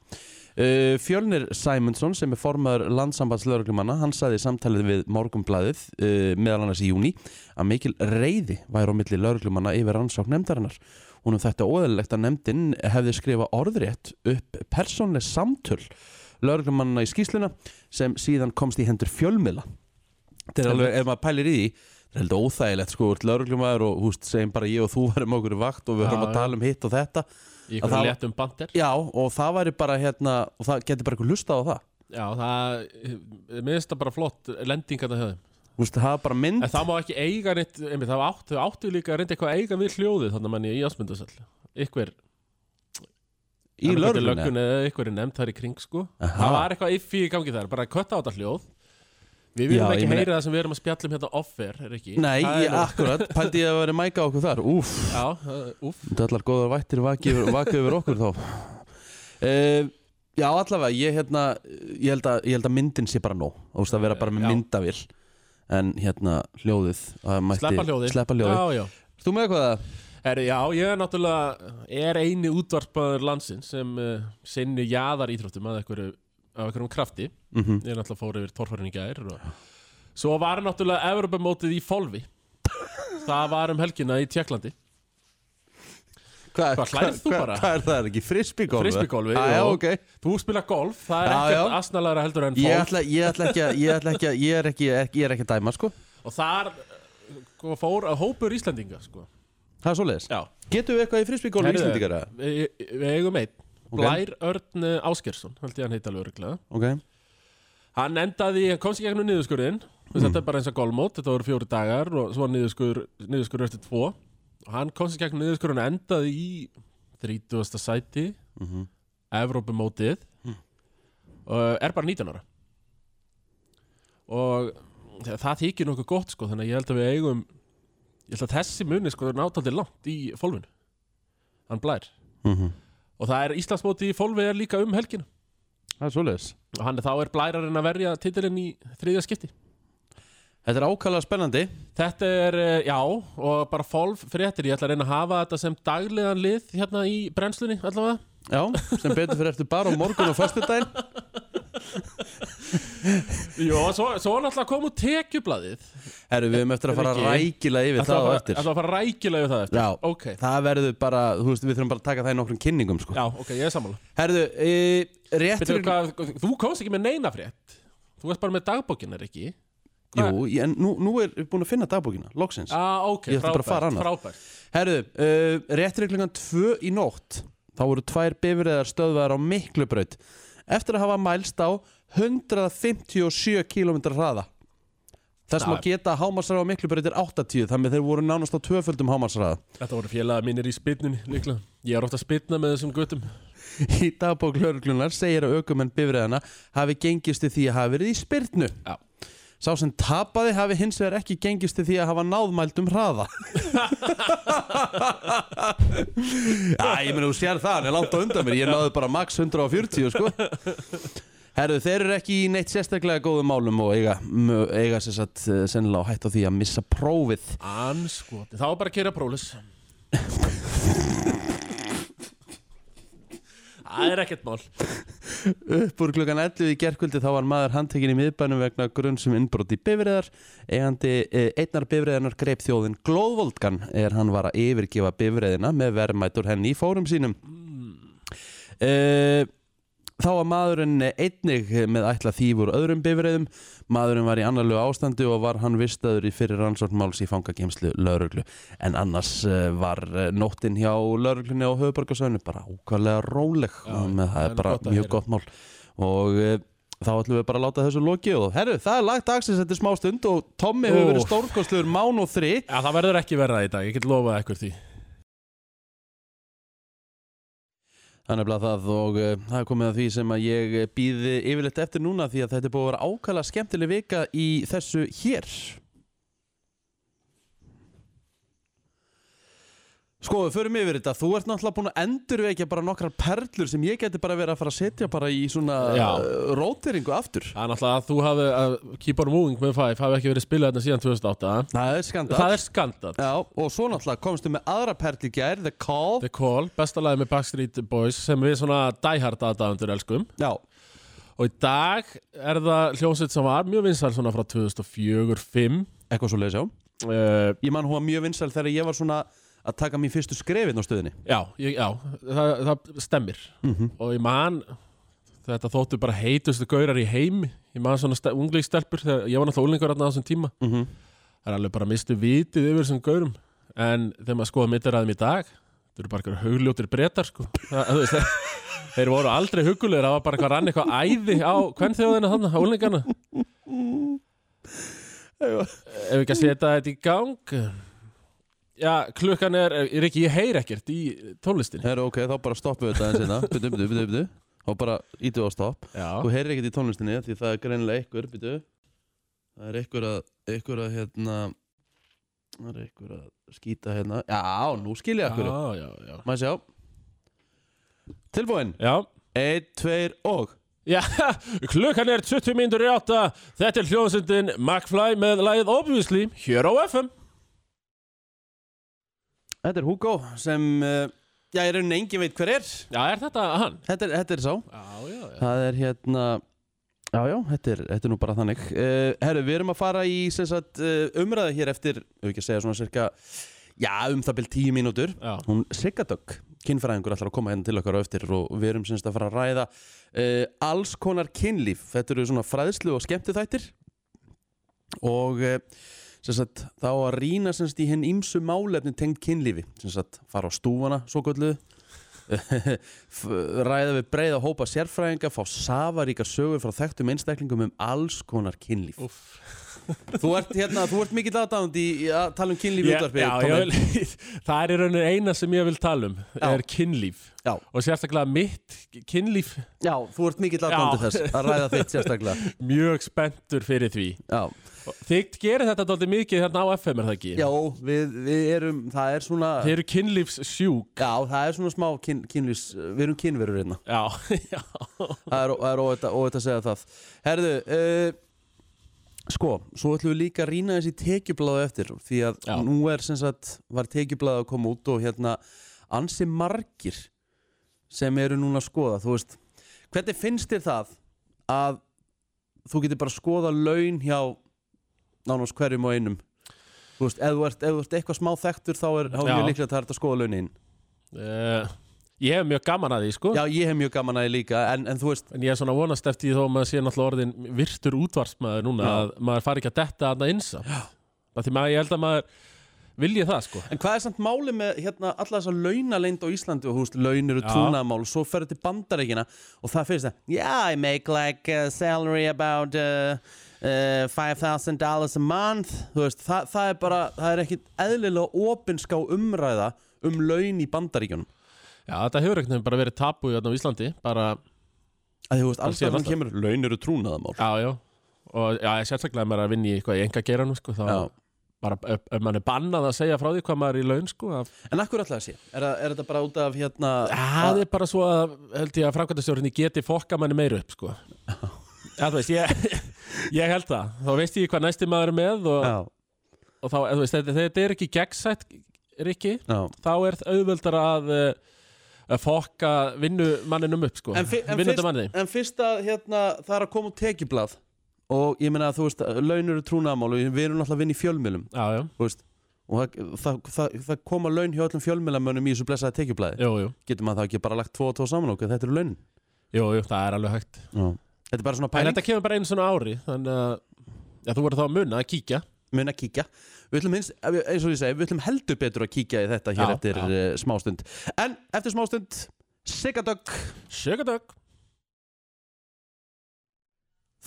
[SPEAKER 1] Uh, Fjölnir Sæmundsson sem er formaður landsambandslörglumanna hann sagði í samtalið við Morgunblæðið uh, meðal annars í júni að mikil reyði væri á milli lörglumanna yfir rannsókn nefndarinnar hún um þetta óðalegt að nefndin hefði skrifa orðrétt upp persónleg samtöl lörglumanna í skýsluna sem síðan komst í hendur fjölmiðla þetta er alveg, ef maður pælir í því þetta er heldur óþægilegt sko, lörglumæður og húst, segjum bara ég og þú varum okkur í vakt og við
[SPEAKER 2] Já,
[SPEAKER 1] höfum að
[SPEAKER 2] já.
[SPEAKER 1] tala um hitt og þetta
[SPEAKER 2] Í
[SPEAKER 1] Að það-
[SPEAKER 2] einhverju léttum bandir
[SPEAKER 1] Já, og það væri bara hérna og það getur bara eitthvað hlustað á það
[SPEAKER 2] eh, Já, það minnst það bara flott lending að það höfðum
[SPEAKER 1] Þú veist, það er bara mynd
[SPEAKER 2] En það má ekki eiga neitt, einmitt, það áttu, þau áttu líka að reynda eitthvað að eiga við hljóðið þannig að manni í Ásmundasall Ykkur,
[SPEAKER 1] í lörðuna
[SPEAKER 2] löggun hérna, eða ykkur er nefnd þar í kring sko
[SPEAKER 1] Aha.
[SPEAKER 2] Það var eitthvað iffi í gangi þar, bara kötta á þetta hljóð Við viljum
[SPEAKER 1] Já, ég
[SPEAKER 2] ekki
[SPEAKER 1] meina-
[SPEAKER 2] heyra það sem við erum að spjalla um hérna offer, er ekki?
[SPEAKER 1] Nei, ég, akkurat, pældi ég að vera mæka okkur þar Úf,
[SPEAKER 2] Já, uh, úff
[SPEAKER 1] þetta allar góðar vættir vaki yfir, vaki yfir okkur þá uh, Já, allavega, ég, hérna, ég, held að, ég held að myndin sé bara nóg Þú veist, að vera bara með
[SPEAKER 2] Já.
[SPEAKER 1] myndavill En hérna, hljóðið að mætti-
[SPEAKER 2] Sleppa hljóðið
[SPEAKER 1] Sleppa hljóðið
[SPEAKER 2] Já, já
[SPEAKER 1] Þú með eitthvað?
[SPEAKER 2] Herri, já, ég er náttúrulega, er eini útvarpaður landsinn sem uh, sinni jaðar íþróttum að einhverju, af einhverjum krafti.
[SPEAKER 1] Mm
[SPEAKER 2] Ég er náttúrulega fór yfir torfærin í gær og svo var náttúrulega Evropamótið í Folvi. Það var um helgina í Tjekklandi. Hvað hlærð þú bara?
[SPEAKER 1] Hvað er það, er ekki frisbygolfi?
[SPEAKER 2] Frisbeegolfið,
[SPEAKER 1] ah, Já,
[SPEAKER 2] jú.
[SPEAKER 1] ok
[SPEAKER 2] Þú spila golf, það er
[SPEAKER 1] Já,
[SPEAKER 2] ekkert
[SPEAKER 1] já.
[SPEAKER 2] asnalara heldur en
[SPEAKER 1] Ég
[SPEAKER 2] fólk
[SPEAKER 1] ætla, ég ætla ekki að, ég ætla ekki að, ég er ekki, ekki, ég er ekki að dæma, sko
[SPEAKER 2] og þar eh, sko, fór að hópur Íslendinga, sko.
[SPEAKER 1] Það er svoleiðis
[SPEAKER 2] Já.
[SPEAKER 1] Getum við eitthvað í frisbygolfi
[SPEAKER 2] Herri,
[SPEAKER 1] íslendingara?
[SPEAKER 2] Við við eigum einn.
[SPEAKER 1] Ok.
[SPEAKER 2] Blær Örn eh, Ásgeirsson, held ég hann heita alveg örglega.
[SPEAKER 1] Ok
[SPEAKER 2] Hann endaði, hann komst í gegnum niðurskurðin mm. Þetta er bara eins og golmót, þetta voru fjóri dagar og svo var niðurskur, niðurskur eftir tvo og hann komst í gegnum niðurskurðin og endaði í 30. sæti
[SPEAKER 1] mm -hmm.
[SPEAKER 2] Evrópumótið og er bara 19 ára og það þykir nokkuð gott sko þannig að ég held að við eigum ég held að þessi muni sko er nátaldi langt í fólfinu hann blær
[SPEAKER 1] Mhm.
[SPEAKER 2] og það er Íslandsmóti í fólfi er líka um helgina
[SPEAKER 1] Það er svoleiðis
[SPEAKER 2] og hann þá er blærarinn að verja titilinn í þriðja skipti
[SPEAKER 1] Þetta er ákala spennandi
[SPEAKER 2] Þetta er, eh, já, og bara fólf fréttir, ég ætla að reyna að hafa þetta sem daglegan lið hérna í brennslunni allavega.
[SPEAKER 1] Já, sem betur fyrir eftir bara á morgun og föstudaginn
[SPEAKER 2] Jó, svo, svo er náttúrulega kom út tekjublaðið.
[SPEAKER 1] Herru, við höfum eftir að fara
[SPEAKER 2] Riki.
[SPEAKER 1] rækilega yfir
[SPEAKER 2] Ætla að
[SPEAKER 1] það á
[SPEAKER 2] fara-
[SPEAKER 1] eftir
[SPEAKER 2] ætla að fara rækilega við það eftir.
[SPEAKER 1] Já,
[SPEAKER 2] Ok,
[SPEAKER 1] það verður bara, þú veist, við þurfum bara að taka það í nokkrum kynningum, sko
[SPEAKER 2] já, ok, ég er sammála.
[SPEAKER 1] Herru, e, réttur
[SPEAKER 2] Bittu, hvað, þú komst ekki með neina frétt. Þú veist bara með dagbókinar, ekki? hvað-
[SPEAKER 1] Jú, ég, en nú, nú er við búin að finna dagbókina, loksins
[SPEAKER 2] Já, Ah, ok,
[SPEAKER 1] Ég ætla bara að
[SPEAKER 2] frábært,
[SPEAKER 1] fara annað.
[SPEAKER 2] frábært.
[SPEAKER 1] Herðu, uh, réttur klukkan tvö í nótt þá voru tvær bifriðar stöðvar á Miklubraut eftir að hafa mælst á 157 km hraða Þess
[SPEAKER 2] Það
[SPEAKER 1] maður geta hámarsraða á Miklubraut er 80 þannig að þeir voru nánast á tvöföldum hámarsraða
[SPEAKER 2] Þetta voru félaga mínir í spynnunni, líklega. Ég er ofta að spynna með þessum guttum.
[SPEAKER 1] Í dagbók lauruglunar segir að aukumenn bifriðana hafi gengist til því að hafa verið í spyrnu
[SPEAKER 2] Já.
[SPEAKER 1] Sá sem tapaði hafi hins vegar ekki gengist til því að hafa náðmældum hraða Já, ég meni, þú sér það, hann er langt á undan mér Ég náði bara max 140, sko Herðu, þeir eru ekki í neitt sérstaklega góðum málum og eiga, mö- eiga sér satt sennilega á hætt á því að missa prófið
[SPEAKER 2] Anskoti, þá er bara að kera prólis Það er ekkert mál
[SPEAKER 1] Upp úr klukkan 11 í gerkvöldi þá var maður handtekinn í miðbænum vegna grunn sem innbrot í bifriðar eigandi eh, einnar bifriðarnar greip þjóðin Glóðvoldgan er hann var að yfirgefa bifriðina með verðmætur henni í fórum sínum Eh, Þá var maðurinn einnig með ætla þýfur öðrum bifriðum maðurinn var í annarlegu ástandi og var hann vistaður í fyrir rannsóknmáls í fangagemslu lauruglu en annars eh, var eh, nóttin hjá lauruglunni á höfuborgarsöðinu bara ákvarlega róleg
[SPEAKER 2] Já,
[SPEAKER 1] og með það
[SPEAKER 2] það er
[SPEAKER 1] er bara
[SPEAKER 2] gott að
[SPEAKER 1] mjög
[SPEAKER 2] heyra.
[SPEAKER 1] gott mál og eh, þá ætlum við bara að láta þessu loki og herru, það er lagt dagsins þetta er smá stund og Tommi hefur verið
[SPEAKER 2] Úff.
[SPEAKER 1] stórkostluður mán og þri
[SPEAKER 2] Já, það verður ekki verða í dag, ég get lofað ekkur því
[SPEAKER 1] Þannig að það og uh, það er komið að því sem að ég býði yfirleitt eftir núna því að þetta er búið að vera ákala skemmtileg vika í þessu hér. Sko, við förum yfir þetta. Þú ert náttúrulega búin að endurvekja bara nokkrar perlur sem ég geti bara verið að fara að setja bara í svona
[SPEAKER 2] Já.
[SPEAKER 1] uh, róteringu aftur.
[SPEAKER 2] Það er náttúrulega að þú hafi, að Keep on Moving með 5 hafi ekki verið spilað þetta síðan 2008
[SPEAKER 1] Það er skandal.
[SPEAKER 2] Það er skandal
[SPEAKER 1] Já, og svo náttúrulega komstu með aðra perl í gær, The Call.
[SPEAKER 2] The Call, besta lagi með Backstreet Boys sem við svona diehard aðdáðundur elskum
[SPEAKER 1] Já,
[SPEAKER 2] og í dag er það hljómsveit sem var mjög vinsal svona frá 2004-05
[SPEAKER 1] eitthvað svo leiðis, já.
[SPEAKER 2] uh,
[SPEAKER 1] Ég man hún var mjög vinsæl þegar ég var svona að taka mín fyrstu skrefin á stöðinni.
[SPEAKER 2] Já, ég, já það, það stemmir og ég man þetta þóttu bara heitustu gaurar í heim ég man svona ste- unglingstelpur þegar ég var náttúrulega unglingur þarna á þessum tíma
[SPEAKER 1] Mm -hmm.
[SPEAKER 2] það er alveg bara mistu vitið yfir þessum gaurum en þegar maður skoða mittaræðum í dag þau eru bara eitthvað haugljótir bretar sko. það, þú veist, þeir, þeir voru aldrei hugulegur það var bara eitthvað rann eitthvað æði á hvern þjóðina þarna, á unglingarna Ef við ekki að setja þetta í gang Já, klukkan er Er ekki, ég heyr ekkert í tónlistinni
[SPEAKER 1] Herru, ok, þá bara stoppum við þetta hérna. eins og Byttu, byttu, byttu, byttu Og bara ítu á stopp Þú
[SPEAKER 2] Já,
[SPEAKER 1] heyrir ekkert í tónlistinni Því það er greinilega ykkur, byttu Það er ykkur að, ykkur að, hérna Það er ykkur að skýta hérna Já, nú skil ég
[SPEAKER 2] já,
[SPEAKER 1] akkur
[SPEAKER 2] já Já,
[SPEAKER 1] Má sjá Tilbúin
[SPEAKER 2] já.
[SPEAKER 1] Einn, tveir og
[SPEAKER 2] Já, klukkan er 20 mínútur í átta Þetta er hljóðsendin McFly með lagið Obviously hér á FM
[SPEAKER 1] Þetta er Hugo sem uh, Já, ég raunin engin veit hver er
[SPEAKER 2] Já, er þetta hann?
[SPEAKER 1] Þetta er, þetta er sá
[SPEAKER 2] Já, já, já
[SPEAKER 1] Það er hérna Já, já, þetta er, þetta er nú bara þannig uh, Herru, við erum að fara í sem sagt, uh, umræða hér eftir, ef ekki að segja svona cirka Já, um það byrjum tíu mínútur
[SPEAKER 2] Já,
[SPEAKER 1] Hún Siggadögg, kynfræðingur ætlar að koma hérna til okkar á eftir og við erum semst að fara að ræða uh, alls konar kynlíf Þetta eru svona fræðslu og skemmtithættir og uh, sem sagt, þá að rýna semst í henn ímsu málefni tengd kynlífi sem sagt, fara á stúfana, svo gölluðu F- ræða við breiða hópa sérfræðinga fá safaríka sögur frá þekktum einstaklingum um alls konar kynlíf
[SPEAKER 2] Úff.
[SPEAKER 1] Þú ert hérna, þú ert mikill aðdáðandi í í að tala um kynlíf í
[SPEAKER 2] Ég-
[SPEAKER 1] útvarpi
[SPEAKER 2] já, ég
[SPEAKER 1] Tommi.
[SPEAKER 2] vil, það er í rauninu eina sem ég vil tala um
[SPEAKER 1] Já.
[SPEAKER 2] er kynlíf
[SPEAKER 1] Já.
[SPEAKER 2] og sérstaklega mitt kynlíf
[SPEAKER 1] já, þú ert mikill aðdáðandi
[SPEAKER 2] Já.
[SPEAKER 1] þess að ræða þitt sérstaklega
[SPEAKER 2] mjög spenntur fyrir því
[SPEAKER 1] Já,
[SPEAKER 2] Og þið gerir þetta dálítið mikið hérna á FM er það ekki?
[SPEAKER 1] já við, við erum, það er svona
[SPEAKER 2] Þið eru kynlífs sjúk
[SPEAKER 1] Já, það er svona smá kyn, kynlís, við erum kynverur hérna
[SPEAKER 2] Já, já
[SPEAKER 1] Það er, það er óvægt, að- óvægt að segja það Herðu, uh, sko, svo ætlum við líka að rýna þessi tekjublaðu eftir Því að
[SPEAKER 2] Já.
[SPEAKER 1] nú er sem sagt, var tekjublaðu að koma út og hérna ansi margir sem eru núna að skoða Þú veist, hvernig finnst þér það að þú getur bara að skoða laun hjá nánast hverjum og einum Þú veist, ef þú ert, ef þú ert eitthvað smá þekktur þá er, þá er
[SPEAKER 2] Já.
[SPEAKER 1] mjög líklegt að það er hægt að skoða launin
[SPEAKER 2] uh, Ég hef mjög gaman að því sko
[SPEAKER 1] Já, ég hef mjög gaman að ég líka en, en þú veist,
[SPEAKER 2] En ég er svona vonast eftir því þó að maður sé náttúrulega orðin virtur útvarsmaður núna
[SPEAKER 1] Já.
[SPEAKER 2] að maður fari ekki að detta aðna insa Það því maður, ég held að maður vilji það sko
[SPEAKER 1] En hvað er samt máli með hérna, alla þessa launaleynd á Íslandi og þú veist, laun eru
[SPEAKER 2] Já.
[SPEAKER 1] trúnaðamál og svo ferðu til bandaríkina og það fyrir það Yeah, I make like a salary about uh, uh, $5,000 a month Þú veist, það, það er bara, það er ekkit eðlilega opinská umræða um laun í bandaríkjunum
[SPEAKER 2] Já, þetta hefur ekkert bara verið tabu hérna á Íslandi bara,
[SPEAKER 1] að þú veist, alls
[SPEAKER 2] sé
[SPEAKER 1] það
[SPEAKER 2] fast að-
[SPEAKER 1] kemur laun eru trúnaðamál
[SPEAKER 2] já, já og já, ég sérstaklega að maður er að vinna í eitthvað í enga geranum sko, þá
[SPEAKER 1] Já.
[SPEAKER 2] bara, ef, ef maður er bannað að segja frá því hvað maður er í laun sko, að,
[SPEAKER 1] En akkur alltaf sé, er, það- er þetta bara út af hérna
[SPEAKER 2] það er bara svo að held ég að framkvæmdastjórnir geti fokka manni meir upp sko. Já, þú veist, ég, ég held það þá veist ég hvað næsti maður er með og,
[SPEAKER 1] Já,
[SPEAKER 2] og þá, þú veist, þetta, þetta er ekki gegnsætt, Rikki
[SPEAKER 1] já
[SPEAKER 2] þá er auðveldar að eh, að fokka vinnumanninum upp sko.
[SPEAKER 1] en, fi, en,
[SPEAKER 2] vinnandi manni
[SPEAKER 1] fyrst, en fyrst að hérna, það er að koma út tekjublað og ég meina að þú veist laun eru trúnaðamál og við erum alltaf að vinna í fjölmjölum
[SPEAKER 2] já, já,
[SPEAKER 1] þú veist og það, það, það, það koma laun hjá öllum fjölmjölamönnum í þessu blessaða tekjublaði
[SPEAKER 2] jú, jú,
[SPEAKER 1] getur maður það ekki bara lagt tvo og tvo saman okkur þetta eru laun
[SPEAKER 2] jú, jú, það er alveg hægt
[SPEAKER 1] þetta er bara svona
[SPEAKER 2] En
[SPEAKER 1] pæling
[SPEAKER 2] þetta kemur bara einu svona ári Þannig að já, þú voru þá að muna að kíkja
[SPEAKER 1] mun að kíkja við ætlum hins, eins og ég segi, við ætlum heldur betur að kíkja í þetta hér
[SPEAKER 2] Já,
[SPEAKER 1] eftir
[SPEAKER 2] já.
[SPEAKER 1] já. smástund en eftir smástund Sigadögg
[SPEAKER 2] Sjögadögg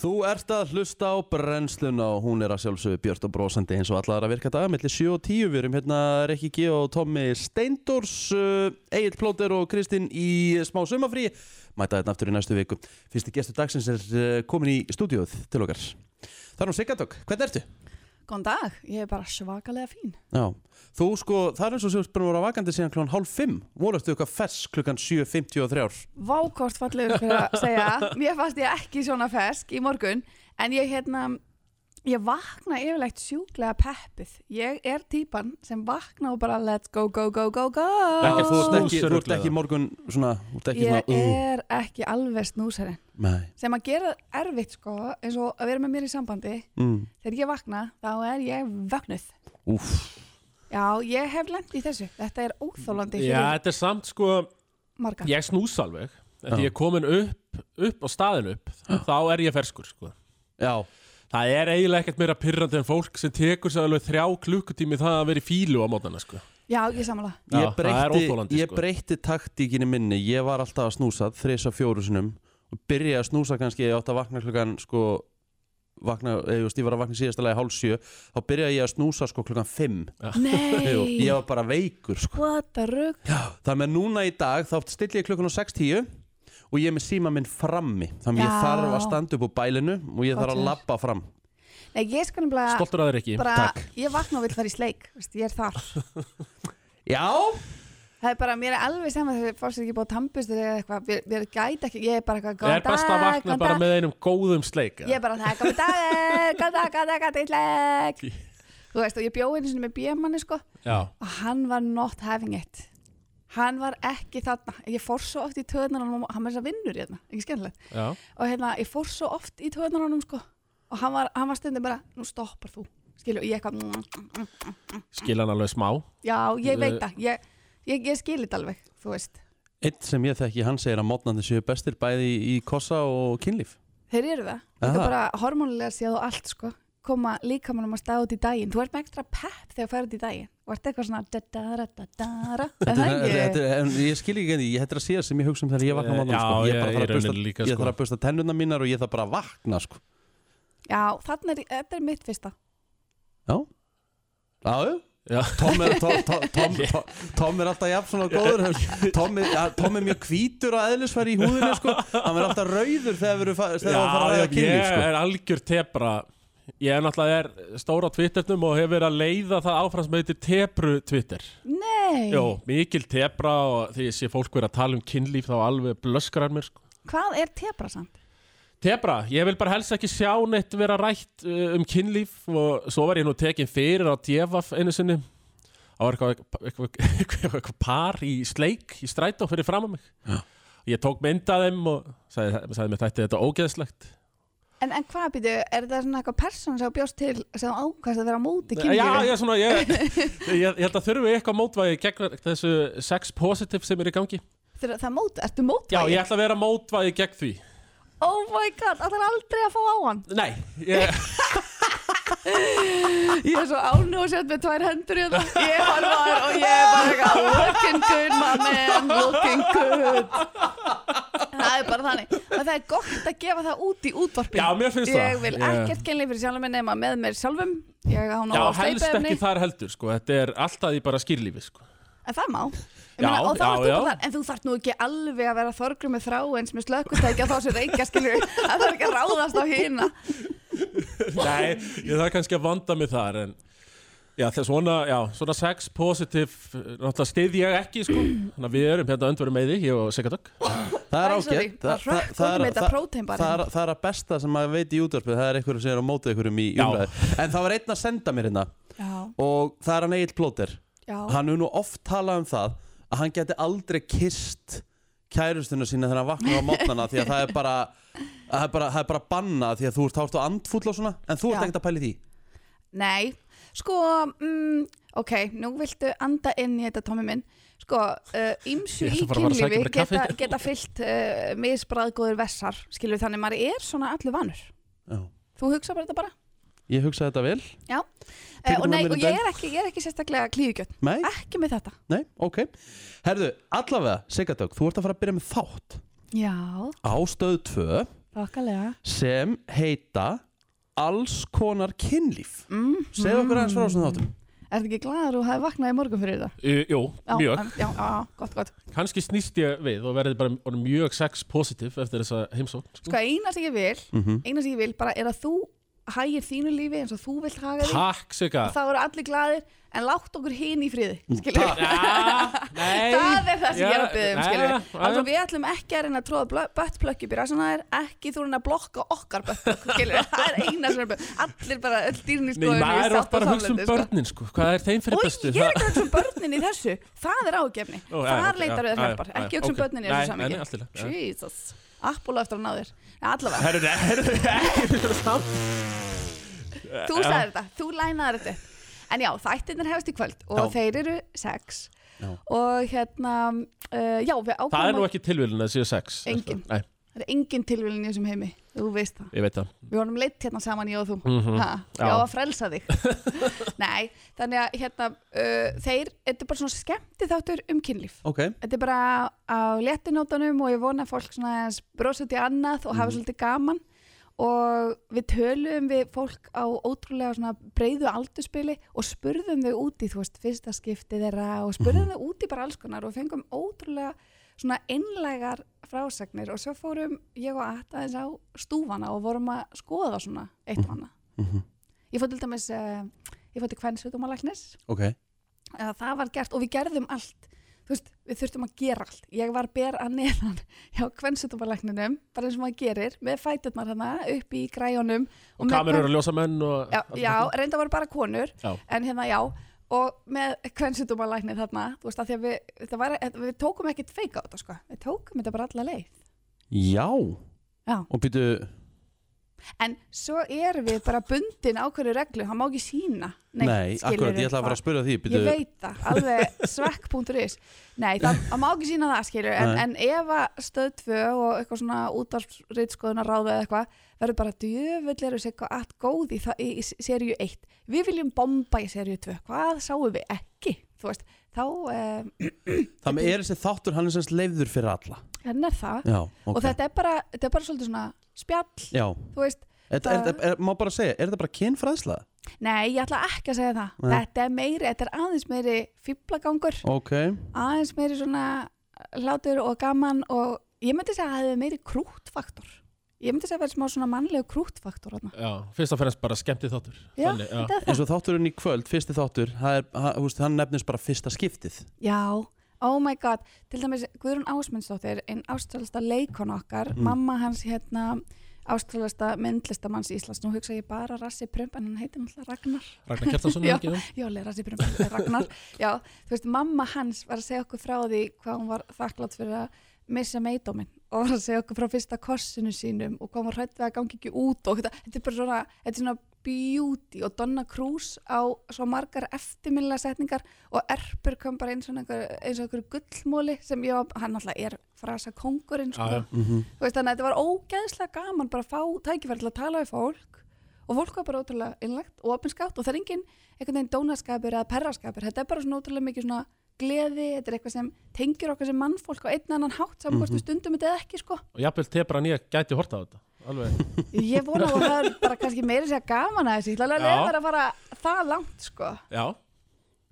[SPEAKER 1] Þú ert að hlusta á brennsluna og hún er að sjálfsögðu björt og brosandi eins og allar að virka daga millir 7 og 10 við erum hérna Rikki G og Tommi Steindors uh, Egil Plóter og Kristinn í smá sumafrí mæta þetta aftur í næstu viku fyrsti gestur dagsins er uh, komin í stúdíóð til okkar Það er nú Sigardok, hvernig ertu?
[SPEAKER 4] Góðan dag, ég er bara svakalega fín.
[SPEAKER 1] Já, þú sko, það er eins og sér bara voru að vakandi síðan klokkan hálf 5 voruðstu eitthvað fersk klukkan 7.53
[SPEAKER 4] Vákort fallegur fyrir að segja, mér fannst ég ekki svona fersk í morgun, en ég hérna, ég vakna yfirlegt sjúklega peppuð. Ég er típan sem vakna og bara let's go, go, go, go, go.
[SPEAKER 2] Ekki
[SPEAKER 1] Þú ert ekki, þú ert
[SPEAKER 2] Snúsaruglega.
[SPEAKER 1] ekki morgun svona, þú ert ekki
[SPEAKER 4] Ég
[SPEAKER 1] svona uh,
[SPEAKER 4] er ekki alveg snúsarinn.
[SPEAKER 1] Nei,
[SPEAKER 4] Sem að gera erfitt sko, eins og að vera með mér í sambandi,
[SPEAKER 1] mm,
[SPEAKER 4] þegar ég vakna, þá er ég vögnuð.
[SPEAKER 1] úf
[SPEAKER 4] Já, ég hef lent í þessu. Þetta er óþólandi
[SPEAKER 2] Já,
[SPEAKER 4] fyrir
[SPEAKER 2] þetta er samt sko
[SPEAKER 4] marga.
[SPEAKER 2] Ég snúsa alveg
[SPEAKER 1] Já.
[SPEAKER 2] En því ég er komin upp, upp á staðin upp Þá er ég ferskur sko
[SPEAKER 1] Já,
[SPEAKER 2] Það er eiginlega ekkert meira pyrrandi en fólk sem tekur sér alveg þrjá klukkutími það að vera í fílu á mótana sko
[SPEAKER 4] Já, ég samanlega.
[SPEAKER 2] Já,
[SPEAKER 1] ég
[SPEAKER 2] það er
[SPEAKER 1] breytti,
[SPEAKER 2] óþolandi,
[SPEAKER 1] ég
[SPEAKER 2] sko.
[SPEAKER 1] breytti taktíkinni minni ég var alltaf að snúsa þrisa fjóru sinum og byrjaði að snúsa kannski ég átt að vakna klukkan sko vakna, eða, þú veist, ég var að vakna í síðasta lagi hálf sjö þá byrjaði ég að snúsa sko klukkan fimm Jú,
[SPEAKER 4] Nei,
[SPEAKER 1] ég var bara veikur sko.
[SPEAKER 4] what a rugg
[SPEAKER 1] þannig að núna í dag þá stilli ég klukkan á 6.10 og ég er með síma minn frammi þannig að ég
[SPEAKER 4] Já.
[SPEAKER 1] þarf að standa upp úr bælinu og ég þarf að
[SPEAKER 4] Gott hjá
[SPEAKER 1] labba fram
[SPEAKER 4] Nei, ég skal nefnilega
[SPEAKER 2] Stoltur að þér ekki
[SPEAKER 4] bara,
[SPEAKER 1] Takk.
[SPEAKER 4] ég vakna og vil fara í sleik veist, ég er þar,
[SPEAKER 1] já,
[SPEAKER 4] það er bara, mér er alveg saman þegar fólk sem ekki búið tampust eða eitthvað, mér, mér gæti ekki, ég er bara eitthvað
[SPEAKER 2] Ég
[SPEAKER 4] góðan
[SPEAKER 2] er best að
[SPEAKER 4] dag,
[SPEAKER 2] vakna
[SPEAKER 4] góðan
[SPEAKER 2] bara
[SPEAKER 4] dag.
[SPEAKER 2] með einum góðum sleik
[SPEAKER 4] ég er bara það, góðan dag, eh, góðan dag, góðan dag, góðan dag sleik þú veist, og ég bjóði einu sinni með bjömanni sko,
[SPEAKER 2] Já,
[SPEAKER 4] og hann var not having it hann var ekki þarna ég fór svo oft í töðunar hann hann var þess að vinnur hérna, ekki skemmtilegt
[SPEAKER 2] já,
[SPEAKER 4] og hérna, ég fór svo oft í töðunar hann sko, og hann var, hann var stundum bara, nú stoppar þú skilur, og ég eitthvað mm,
[SPEAKER 2] skil hann alveg smá
[SPEAKER 4] já,
[SPEAKER 2] Eh.
[SPEAKER 4] ég veit það, ég, ég, ég skilit alveg þú veist,
[SPEAKER 1] einn sem ég þekki hann segir að mótnandi séu bestir bæði í kossa og kynlíf
[SPEAKER 4] þeir eru það
[SPEAKER 1] Aha.
[SPEAKER 4] þetta bara hormónulega séð og allt sko koma líkamannum að staða út í daginn þú ert með ekstra pepp þegar þú ferð út í daginn og ert eitthvað svona da-da-ra-da-da-ra Er það
[SPEAKER 1] Þetta-
[SPEAKER 4] ekki?
[SPEAKER 1] þetta- en ég skil ekki henni, ég hættir að síðast sem ég hugsa um þegar ég vakna á
[SPEAKER 2] Eh,
[SPEAKER 1] mótnandi
[SPEAKER 2] já,
[SPEAKER 1] sko. ég,
[SPEAKER 2] ég-
[SPEAKER 1] bara þarf
[SPEAKER 2] í
[SPEAKER 1] að busta-
[SPEAKER 2] rauninni líka,
[SPEAKER 1] ég
[SPEAKER 2] sko.
[SPEAKER 1] þarf að busta tennuna mínar og ég þarf bara að vakna sko.
[SPEAKER 4] já, þarna er, þetta er mitt fyrsta
[SPEAKER 1] já, já, já
[SPEAKER 2] Já,
[SPEAKER 1] Tom er, Tom, Tom, Tom, Tom, Tom er alltaf jafn svona góður Tom er, ja, Tom er mjög hvítur að eðlisfæri í húðinu sko. hann er alltaf rauður þegar við erum fa- þegar við erum að fara að
[SPEAKER 2] já,
[SPEAKER 1] ræða kynlíf
[SPEAKER 2] ég
[SPEAKER 1] sko.
[SPEAKER 2] er algjör tebra Ég er náttúrulega er stór á Twitternum og hefur verið að leiða það áfram sem heitir tebru Twitter
[SPEAKER 4] nei,
[SPEAKER 2] Jó, mikil tebra og því ég sé fólk verið að tala um kynlíf þá alveg blöskar hann mér sko.
[SPEAKER 4] hvað er tebrasand?
[SPEAKER 2] Tebra, ég vil bara helst ekki sjá neitt vera rætt uh, um kynlíf og svo var ég nú tekin fyrir á Djefaf einu sinni Það var eitthvað, eitthvað, eitthvað, eitthvað par í sleik í strætó fyrir fram að mig
[SPEAKER 1] Já.
[SPEAKER 2] Ég tók mynd að þeim og sagði, sagði mér þetta þetta ógeðslegt
[SPEAKER 4] En, en hvað býtu, er þetta svona eitthvað persón sem þú bjóst til sem þú ákvæmst að vera á móti
[SPEAKER 2] Já,
[SPEAKER 4] kynlífi?
[SPEAKER 2] ég, er svona, ég, ég, ég held að þurfi eitthvað mótvægi gegn þessu sex positive sem er í gangi
[SPEAKER 4] Þegar það er mót, ertu
[SPEAKER 2] Já,
[SPEAKER 4] mótvægi?
[SPEAKER 2] ég ætla að vera mótvægi gegn því
[SPEAKER 4] Oh my god, það er aldrei að fá á hann.
[SPEAKER 2] Nei, ég,
[SPEAKER 4] Ég er svo ánú og sett með tvær hendur í þetta. Ég var var og ég er bara eitthvað looking good my man, looking good. Það er bara þannig. Og það er gott að gefa það út í útvarpinu.
[SPEAKER 2] já, mér finnst það
[SPEAKER 4] Ég vil
[SPEAKER 2] Ég-
[SPEAKER 4] ekkert kynlíf fyrir sjálfum minn nema með mér sjálfum. Ég á nú
[SPEAKER 2] Já,
[SPEAKER 4] að
[SPEAKER 2] helst
[SPEAKER 4] sleipa
[SPEAKER 2] ekki þar heldur sko. Þetta er alltaf í bara skýrlífi sko.
[SPEAKER 4] En það má Ég
[SPEAKER 2] Já,
[SPEAKER 4] meina, og þá
[SPEAKER 2] já,
[SPEAKER 4] ert þú
[SPEAKER 2] já.
[SPEAKER 4] bara þar, en þú þarf nú ekki alveg að vera þorgrum með þrá eins með slökkutækja þá sem reykja skilur það þarf ekki að ráðast á hýna
[SPEAKER 2] Nei, ég þarf kannski að vanda mig þar en já, það er svona, já, svona sex positive, eh, náttúrulega stið ég ekki sko. Þannig að við erum hérna öndveru með því ég og Sigardök
[SPEAKER 1] það er
[SPEAKER 4] Æ, sorry,
[SPEAKER 1] ágætt
[SPEAKER 4] það
[SPEAKER 1] það, það,
[SPEAKER 4] hrökk
[SPEAKER 1] það,
[SPEAKER 4] út um
[SPEAKER 1] er-
[SPEAKER 4] þetta
[SPEAKER 1] það,
[SPEAKER 4] prótein bara.
[SPEAKER 1] það, er- það er að besta sem maður veit í útvarpið það er einhverjum sem er á móti einhverjum í
[SPEAKER 2] Já.
[SPEAKER 1] umræði en það var einn að senda mér hérna
[SPEAKER 4] Já,
[SPEAKER 1] og það er hann Egil Plóter
[SPEAKER 4] já,
[SPEAKER 1] hann er nú oft talað um það að hann geti aldrei kist kærustuna sína þegar hann vaknar á mótnana því að það er bara það er bara, það er bara banna því að þú ert þá ertu andfúll og svona en þú ert
[SPEAKER 4] Já.
[SPEAKER 1] ekkert að pæli því
[SPEAKER 4] nei Sko, mm, ok, nú viltu anda inn í þetta Tommi minn Sko, uh, ímsu
[SPEAKER 2] Ég ætla
[SPEAKER 4] í
[SPEAKER 2] bara að fara að sækja
[SPEAKER 4] kynlífi
[SPEAKER 2] mér
[SPEAKER 4] geta,
[SPEAKER 2] kaffi.
[SPEAKER 4] geta fyllt uh, misbræðgóður vessar skilur þannig maður er svona allu vanur
[SPEAKER 1] Já.
[SPEAKER 4] Þú hugsa bara þetta bara
[SPEAKER 1] ég hugsa þetta vel
[SPEAKER 4] uh,
[SPEAKER 1] Tekur
[SPEAKER 4] og,
[SPEAKER 1] þú með
[SPEAKER 4] nei,
[SPEAKER 1] mér í
[SPEAKER 4] og ég er ekki, ég er ekki sérstaklega klíðugjörn
[SPEAKER 1] nei,
[SPEAKER 4] Ekki með þetta
[SPEAKER 1] nei, ok herðu, allavega, Sigatök, þú ert að fara að byrja með þátt
[SPEAKER 4] Já,
[SPEAKER 1] á stöð 2
[SPEAKER 4] þakkalega
[SPEAKER 1] sem heita alls konar kynlíf
[SPEAKER 4] mm.
[SPEAKER 1] segðu okkur aðeins frá þessum þáttum
[SPEAKER 4] Ertu ekki gladur og hafi vaknað í morgun fyrir þetta?
[SPEAKER 2] Uh, Jú, mjög,
[SPEAKER 4] Já, já, já, gott, gott.
[SPEAKER 2] kannski snýst ég við og verði bara orðinn mjög sex positive eftir þessa heimsókn sko.
[SPEAKER 4] Sko, eina sem ég vil,
[SPEAKER 1] mm
[SPEAKER 4] eina sem ég vil bara er að þú hægir þínu lífi eins og þú vilt haga því.
[SPEAKER 2] Takk Sigga
[SPEAKER 4] Þá eru allir gladir, en látt okkur hinn í friði, skilur við.
[SPEAKER 2] Já, nei
[SPEAKER 4] Það er það sem ég er að byggja
[SPEAKER 2] Já,
[SPEAKER 4] um, skilur við.
[SPEAKER 2] já,
[SPEAKER 4] Alveg,
[SPEAKER 2] já.
[SPEAKER 4] við ætlum ekki að reyna að tróða böttplökk upp í rassunar, ekki þú reyna að blokka okkar böttplökk, skilur við. Það er eina sem er bara, allir bara, öll dýrni
[SPEAKER 2] Nei,
[SPEAKER 4] skoðinu.
[SPEAKER 2] maður er oft bara að hugsa um börnin sko. Hvað er þeim fyrir
[SPEAKER 4] Oi,
[SPEAKER 2] bestu? sko.
[SPEAKER 4] ég er ekki að hugsa um börnin í þessu Það er ágefni,
[SPEAKER 2] Ó, já,
[SPEAKER 4] þar
[SPEAKER 2] ok,
[SPEAKER 4] leitar
[SPEAKER 2] já,
[SPEAKER 4] við
[SPEAKER 2] já,
[SPEAKER 4] hjálpar
[SPEAKER 2] já,
[SPEAKER 4] Ekki hugsa um
[SPEAKER 2] ok.
[SPEAKER 4] börnin í
[SPEAKER 2] Nei,
[SPEAKER 4] þessu
[SPEAKER 2] nei,
[SPEAKER 4] samingi
[SPEAKER 2] allt í lagi, já.
[SPEAKER 4] Jesus, appúla eftir að ná þér Nei, Allavega,
[SPEAKER 2] Herru, herru, herru, herru
[SPEAKER 4] þú sagði þetta, þú lænaði þetta En já, þættirnir hefast í kvöld Og
[SPEAKER 1] Já.
[SPEAKER 4] þeir eru sex
[SPEAKER 1] Já.
[SPEAKER 4] Og hérna, uh, já, við ákvæmum
[SPEAKER 2] Það er nú ekki tilvílun að séu sex
[SPEAKER 4] Engin.
[SPEAKER 2] Nei,
[SPEAKER 4] Það er engin tilvílun í þessum heimi, þú veist það
[SPEAKER 2] ég veit það
[SPEAKER 4] Við vorum leitt hérna saman ég og þú
[SPEAKER 2] Mhm.
[SPEAKER 4] ha, Ég á
[SPEAKER 2] Já.
[SPEAKER 4] að frelsa þig Nei, þannig að hérna uh, Þeir, þetta er bara svona skemmti þáttur um kynlíf
[SPEAKER 1] ok,
[SPEAKER 4] Þetta er bara á léttinótanum og ég vona að fólk svona aðeins brosa út í annað og hafa svolítið gaman og við töluðum við fólk á ótrúlega svona breyðu aldurspili og spurðum þau út í þú veist fyrsta skipti þeirra og spurðum þau út í bara alls konar og fengum ótrúlega svona innlegar frásagnir og svo fórum ég og Atta aðeins á stúfana og vorum að skoða svona eitt og annað.
[SPEAKER 1] Mhm.
[SPEAKER 4] Ég fór til dæmis, uh, ég fór til kvennsvitumalæknis
[SPEAKER 1] ok,
[SPEAKER 4] eða það var gert og við gerðum allt þú veist, við þurftum að gera allt ég var ber að neðan hjá kvensutumalækninum, bara eins og maður gerir með fæturnar hana upp í græjunum
[SPEAKER 2] Og
[SPEAKER 4] með
[SPEAKER 2] kamerur og ljósamenn og...
[SPEAKER 4] já, já, reynda voru bara konur
[SPEAKER 2] Já.
[SPEAKER 4] en hérna já, og með kvensutumalækni þarna, þú veist, að því að við, þetta var, þetta- við tókum ekkert feika á þetta sko við tókum þetta bara alla leið
[SPEAKER 1] já
[SPEAKER 4] Já.
[SPEAKER 1] og býtu,
[SPEAKER 4] en svo erum við bara bundin ákveðu reglu, hann má ekki sína
[SPEAKER 1] nei, akkurat, ég ætla að fara að spyrja því býtu,
[SPEAKER 4] Ég veit það, alveg svekk.is Nei, það það má ekki sína það skilur en,
[SPEAKER 1] Nei.
[SPEAKER 4] en ef að stöð 2 og eitthvað svona útvarfritskoðuna ráða eða eitthvað verður bara djöfull eru sér eitthvað allt góð í, það- í, í seríu 1 Við viljum bomba í seríu 2 Hvað sáum við ekki? Þú veist, þá um,
[SPEAKER 1] það er þessi þáttur hann er semst leiður fyrir alla
[SPEAKER 4] hennar hérna það
[SPEAKER 1] já, ok,
[SPEAKER 4] og þetta er, bara, þetta er bara svolítið svona spjall
[SPEAKER 1] já,
[SPEAKER 4] Þú veist,
[SPEAKER 1] þetta er, er, er, má bara segja er þetta bara kynfræðsla?
[SPEAKER 4] nei, ég ætla ekki að segja það
[SPEAKER 1] Nei.
[SPEAKER 4] Þetta er meiri, þetta er aðeins meiri fýblagangur
[SPEAKER 1] ok,
[SPEAKER 4] aðeins meiri svona hlátur og gaman og ég myndi segja að það hefði meiri krútfaktor ég myndi segja að verði smá svona mannlegu krútfaktor þarna.
[SPEAKER 2] Já, fyrst og fremst bara skemmti þáttur.
[SPEAKER 4] Já,
[SPEAKER 2] Þannig,
[SPEAKER 4] þetta er
[SPEAKER 1] eins
[SPEAKER 4] það
[SPEAKER 1] og þátturinn í kvöld fyrsti þáttur, það er, hann, þú veist, hann nefnist bara fyrsta skiptið
[SPEAKER 4] Já, oh my god til dæmis Guðrún Ásmundsdóttir einn ástralasta leikon okkar mamma hans hérna ástralasta myndlistamanns Íslands nú hugsa ég bara Rassi Prump en hann heitir náttúrulega Ragnar
[SPEAKER 2] Ragnar Kjartason er
[SPEAKER 4] Já.
[SPEAKER 2] ekki það?
[SPEAKER 4] Jóli Rassi Prump hann heitir Ragnar Já, þú veist, mamma hans var að segja okkur frá því hvað hún var þakklátt fyrir að missa meidóminn og var að segja okkur frá fyrsta kossinu sínum og hvað hún var hrædd við að gangi ekki út og þetta, þetta er bara svona, þetta er svona beauty og Donna Cruz á svo margar eftirminnilega setningar og Erpur kom bara eins og einhver, eins og einhver gullmóli sem ég, var- hann alltaf er frasa kongurinn
[SPEAKER 2] Já, já.
[SPEAKER 4] sko.
[SPEAKER 1] Mhm.
[SPEAKER 4] Þú veist, þannig að þetta var ógeðslega gaman bara að fá tækifæri til að tala við fólk og fólk var bara ótrúlega innlegt og opinskátt og það er engin einhvern veginn dónaskapur eða perraskapur, þetta er bara svona ótrúlega mikið svona gleði, þetta er eitthvað sem tengir okkar sem mannfólk á einn annan hátt saman hvort við stundum þetta eða ekki sko
[SPEAKER 2] Og jafnvel tebra nýja gæti horta á þetta. Alveg.
[SPEAKER 4] ég vona að það er bara kannski meira sér gaman að þessu, ég ætla alveg
[SPEAKER 2] Já.
[SPEAKER 4] að vera að fara það langt sko,
[SPEAKER 2] Já.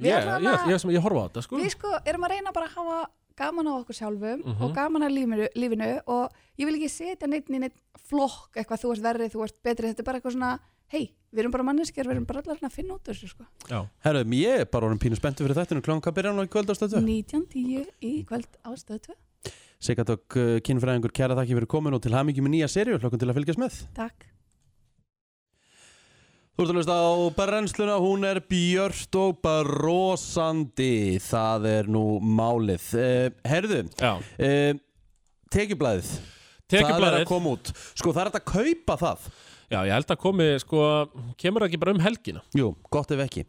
[SPEAKER 4] Við
[SPEAKER 2] Ég, ég,
[SPEAKER 4] ætlum
[SPEAKER 2] ég,
[SPEAKER 4] að-
[SPEAKER 2] ég, ég horfa á þetta, sko.
[SPEAKER 4] við sko erum að reyna bara að hafa gaman á okkur sjálfum og gaman að lífinu, lífinu og ég vil ekki setja neitt í neitt flokk eitthvað þú ert verri, þú ert betri, þetta er bara eitthvað svona hei, við erum bara manneskjar, við erum bara allar að finna út úr þessu sko,
[SPEAKER 2] Já.
[SPEAKER 1] herruðum, ég er bara orðin pínu spenntu fyrir þættinu klán, hvað byrjar hann á í kvöld á stöðu?
[SPEAKER 4] 19.10 í kvöld á stöð 2
[SPEAKER 1] Sigardokk eh, kynfræðingur, kæra þakki fyrir komin og til hamingi með nýja serju, hlokkum til að fylgjast með.
[SPEAKER 4] Takk
[SPEAKER 1] Þú ert að hlusta á brennsluna, hún er björst og brosandi, það er nú málið. Uh, herðu,
[SPEAKER 2] Já.
[SPEAKER 1] uh, tekjublaðið, það er að
[SPEAKER 2] Tekjublaðið.
[SPEAKER 1] koma út. Sko það er hægt að kaupa það.
[SPEAKER 2] Já, ég held að komi, sko, kemur það ekki bara um helgina.
[SPEAKER 1] Jú, gott ef ekki.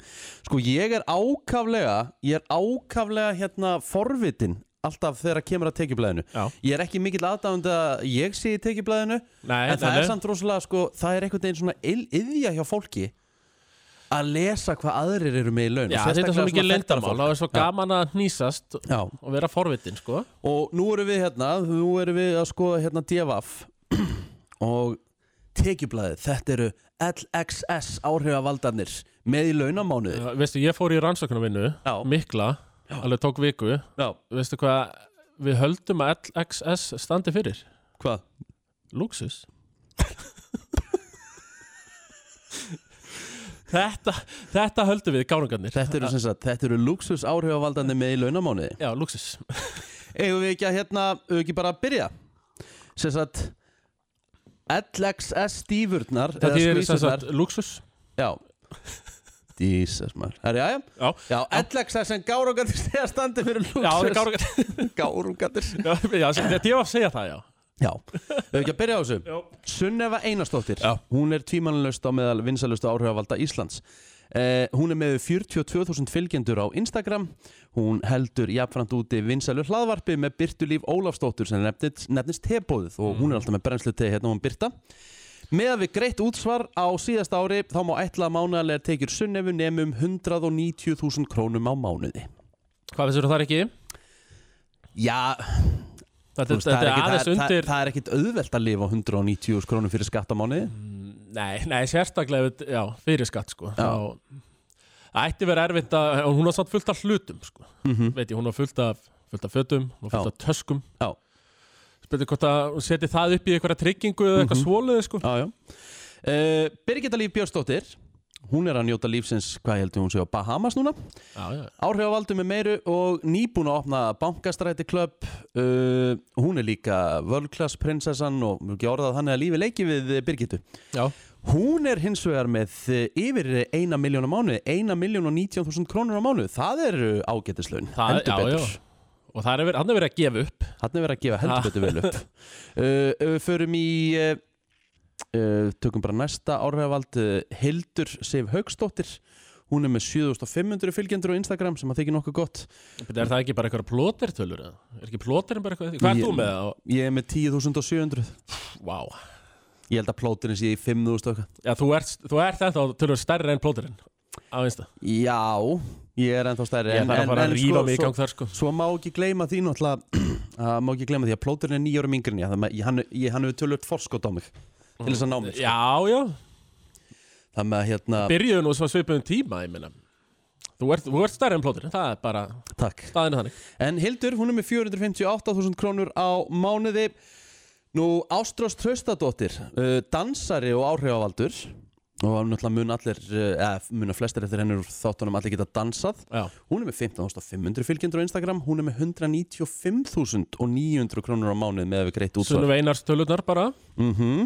[SPEAKER 1] Sko ég er ákaflega, ég er ákaflega hérna forvitin alltaf þegar kemur að tekjublaðinu.
[SPEAKER 2] Já.
[SPEAKER 1] Ég er ekki mikill aðdáðandi að ég sé í tekjublaðinu,
[SPEAKER 2] Nei,
[SPEAKER 1] en það
[SPEAKER 2] nei,
[SPEAKER 1] er
[SPEAKER 2] nei.
[SPEAKER 1] samt rosalega sko, það er einhvern veginn svona ill- iðja hjá fólki að lesa hvað aðrir eru með í laun
[SPEAKER 2] Já,
[SPEAKER 1] og
[SPEAKER 2] þetta er svo
[SPEAKER 1] sérstaklega
[SPEAKER 2] mikið
[SPEAKER 1] svona þekktara
[SPEAKER 2] leyndamál. Það er svo
[SPEAKER 1] Já. Eh.
[SPEAKER 2] gaman að nýsast
[SPEAKER 1] Já,
[SPEAKER 2] og vera forvitin, sko.
[SPEAKER 1] og nú erum við hérna nú erum við að skoða hérna DFF og tekjublaðið, þetta eru LXS áhrifavaldarnir með í launamánuði
[SPEAKER 2] Já, Veistu, ég fór í rannsóknarvinnu,
[SPEAKER 1] Já.
[SPEAKER 2] mikla, alveg tók viku.
[SPEAKER 1] Já,
[SPEAKER 2] Veistu hvað við höldum að LXS standi fyrir?
[SPEAKER 1] hvað?
[SPEAKER 2] Luxus þetta, þetta höldum við gánungarnir
[SPEAKER 1] Þetta eru sem sagt, þetta eru luxus áhrifavaldarnir með í launamánuði
[SPEAKER 2] Já, luxus
[SPEAKER 1] Eigum við ekki að hérna, eigum við ekki bara að byrja? Sem sagt LXS stífurnar
[SPEAKER 2] Það
[SPEAKER 1] eða
[SPEAKER 2] þýðir sem
[SPEAKER 1] skvísurnar.
[SPEAKER 2] sagt luxus
[SPEAKER 1] Já Jesus maður Herri, já, já
[SPEAKER 2] Já,
[SPEAKER 1] Já, LXS sem gárungatir stegja standi fyrir lúksus
[SPEAKER 2] já það er gánungarnir
[SPEAKER 1] gárungatir
[SPEAKER 2] Já, já, sem- þetta ég var að segja það, já
[SPEAKER 1] Já, við ekki að byrja á þessu Sunneva Einarsdóttir
[SPEAKER 2] Já.
[SPEAKER 1] Hún er tímanlust á meðal vinsalustu áhrifavalda Íslands eh, Hún er með 42.000 fylgjendur á Instagram Hún heldur jafnframt úti vinsalu hlaðvarpi með Byrtulíf Ólafsdóttur sem nefnist, nefnist tebóðið og
[SPEAKER 2] Mhm.
[SPEAKER 1] hún er alltaf með brennslu tegi hérna hún Byrta Með að við greitt útsvar á síðasta ári þá má ætla að mánaðarlegar tekjur um Sunnevu nefnum 190.000 krónum á mánuði
[SPEAKER 2] um Hvað vissur það er ekki?
[SPEAKER 1] Já,
[SPEAKER 2] Þetta,
[SPEAKER 1] Þú veist,
[SPEAKER 2] þetta
[SPEAKER 1] það, er
[SPEAKER 2] er
[SPEAKER 1] ekkit,
[SPEAKER 2] aðeins
[SPEAKER 1] það,
[SPEAKER 2] undir
[SPEAKER 1] það, það er ekkit auðvelt að lifa á 190 krónum fyrir skattamáni
[SPEAKER 2] Nei, nei, sérstaklega við- já, fyrir skatt sko já. Það ætti verið erfitt að og hún var samt fullt af hlutum sko.
[SPEAKER 1] Mhm.
[SPEAKER 2] veit ég, hún var fullt af, fullt af fötum hún var fullt
[SPEAKER 1] Já.
[SPEAKER 2] af töskum
[SPEAKER 1] Já.
[SPEAKER 2] Spurði hvort að hún seti það upp í einhverja tryggingu eða eitthvað svoleiði sko
[SPEAKER 1] Mhm. Já, já uh, Birgitta Líf Björnsdóttir Hún er að njóta lífsins, hvað heldur hún sé á Bahamas núna
[SPEAKER 2] Já, já,
[SPEAKER 1] Áhrifavaldum er meiru og nýbúin að opna bankastræti klöpp uh, Hún er líka völklass prinsessan og mjög ekki orðað hann eða lífi leiki við eh, Birgittu
[SPEAKER 2] já,
[SPEAKER 1] Hún er hins vegar með eh, yfir eina miljón á mánuði, eina miljón og 19.000 krónur á mánuði, það eru ágætislaun,
[SPEAKER 2] Það- já, já. og það er verið, hann er verið að gefa upp
[SPEAKER 1] Þannig verið að gefa heldur betur vel upp uh, ef Við förum í uh, uh, Tökum bara næsta áhrifavald uh, Hildur Sif Haugsdóttir Hún er með 7500 fylgjendur á Instagram sem að þykir nokkuð gott
[SPEAKER 2] Byrja, Er það ekki bara eitthvað plótertölur eða? Er ekki plóterinn bara eitthvað? Hvað er
[SPEAKER 1] Ég-
[SPEAKER 2] þú með það?
[SPEAKER 1] Ég er með 10.700
[SPEAKER 2] Vá
[SPEAKER 1] Ég held að plóturinn sé í 5.000 og eitthvað
[SPEAKER 2] Já, þú ert, þú ert þetta og tölur stærri enn plóterinn Á einsta
[SPEAKER 1] Já, ég er ennþá stærri
[SPEAKER 2] Ég
[SPEAKER 1] en- en-
[SPEAKER 2] þarf að
[SPEAKER 1] en
[SPEAKER 2] fara að rífa
[SPEAKER 1] sko-
[SPEAKER 2] mig í
[SPEAKER 1] svo-
[SPEAKER 2] gang þar sko
[SPEAKER 1] Svo má ekki gleyma því náttúrulega að má ekki gleyma því að plóturinn er nýjórum yngri en ég, þannig að ég- hann, ég, hann hefur tölvöld forskot á mig til þess að ná mig sko.
[SPEAKER 2] Já, já,
[SPEAKER 1] þannig að hérna,
[SPEAKER 2] byrjuðu nú svo svipum tíma, ég minna Þú ert, þú ert stærri enn plóterinn, það er bara
[SPEAKER 1] takk
[SPEAKER 2] staðinu þannig
[SPEAKER 1] En Hildur, hún er með 458.000 krónur á mánuði. Nú, Ástrós Traustadóttir, uh, dansari og áhrifavaldur og náttúrulega mun allir, uh, eða muna flestir eftir henni úr þáttunum allir geta dansað.
[SPEAKER 2] Já,
[SPEAKER 1] Hún er með 15.500 fylgjendur á Instagram, hún er með 195.900 krónur á mánuði með að við greitt útsvar.
[SPEAKER 2] sunnum einars tölurnar bara
[SPEAKER 1] Mm uh,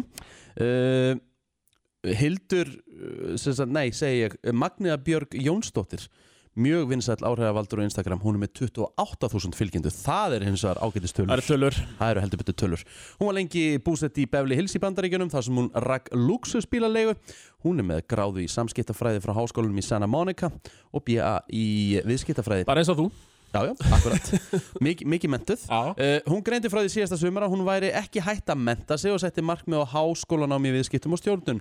[SPEAKER 1] Hildur, uh, sem sagt, nei, segi ég, Magniða Björg Jónsdóttir Mjög vinsæll áhrifavaldur á Instagram Hún er með 28.000 fylgjendu Það er hins vegar ágætistölur
[SPEAKER 2] Það eru tölur
[SPEAKER 1] Það eru heldur betur tölur Hún var lengi búsett í Beverly Hills í bandaríkjunum þar sem hún rakk luxusbílalegu Hún er með gráðu í samskiptafræði frá háskólanum í Santa Monica og BA í viðskiptafræði
[SPEAKER 2] Bara eins og þú
[SPEAKER 1] Já, já, akkurat Mik Mikið mentuð
[SPEAKER 2] Já
[SPEAKER 1] Uh, hún greindi frá því síðasta sumar að hún væri ekki hætt að menta sig og setti markmið á háskólanámi í viðskiptum og stjórnun.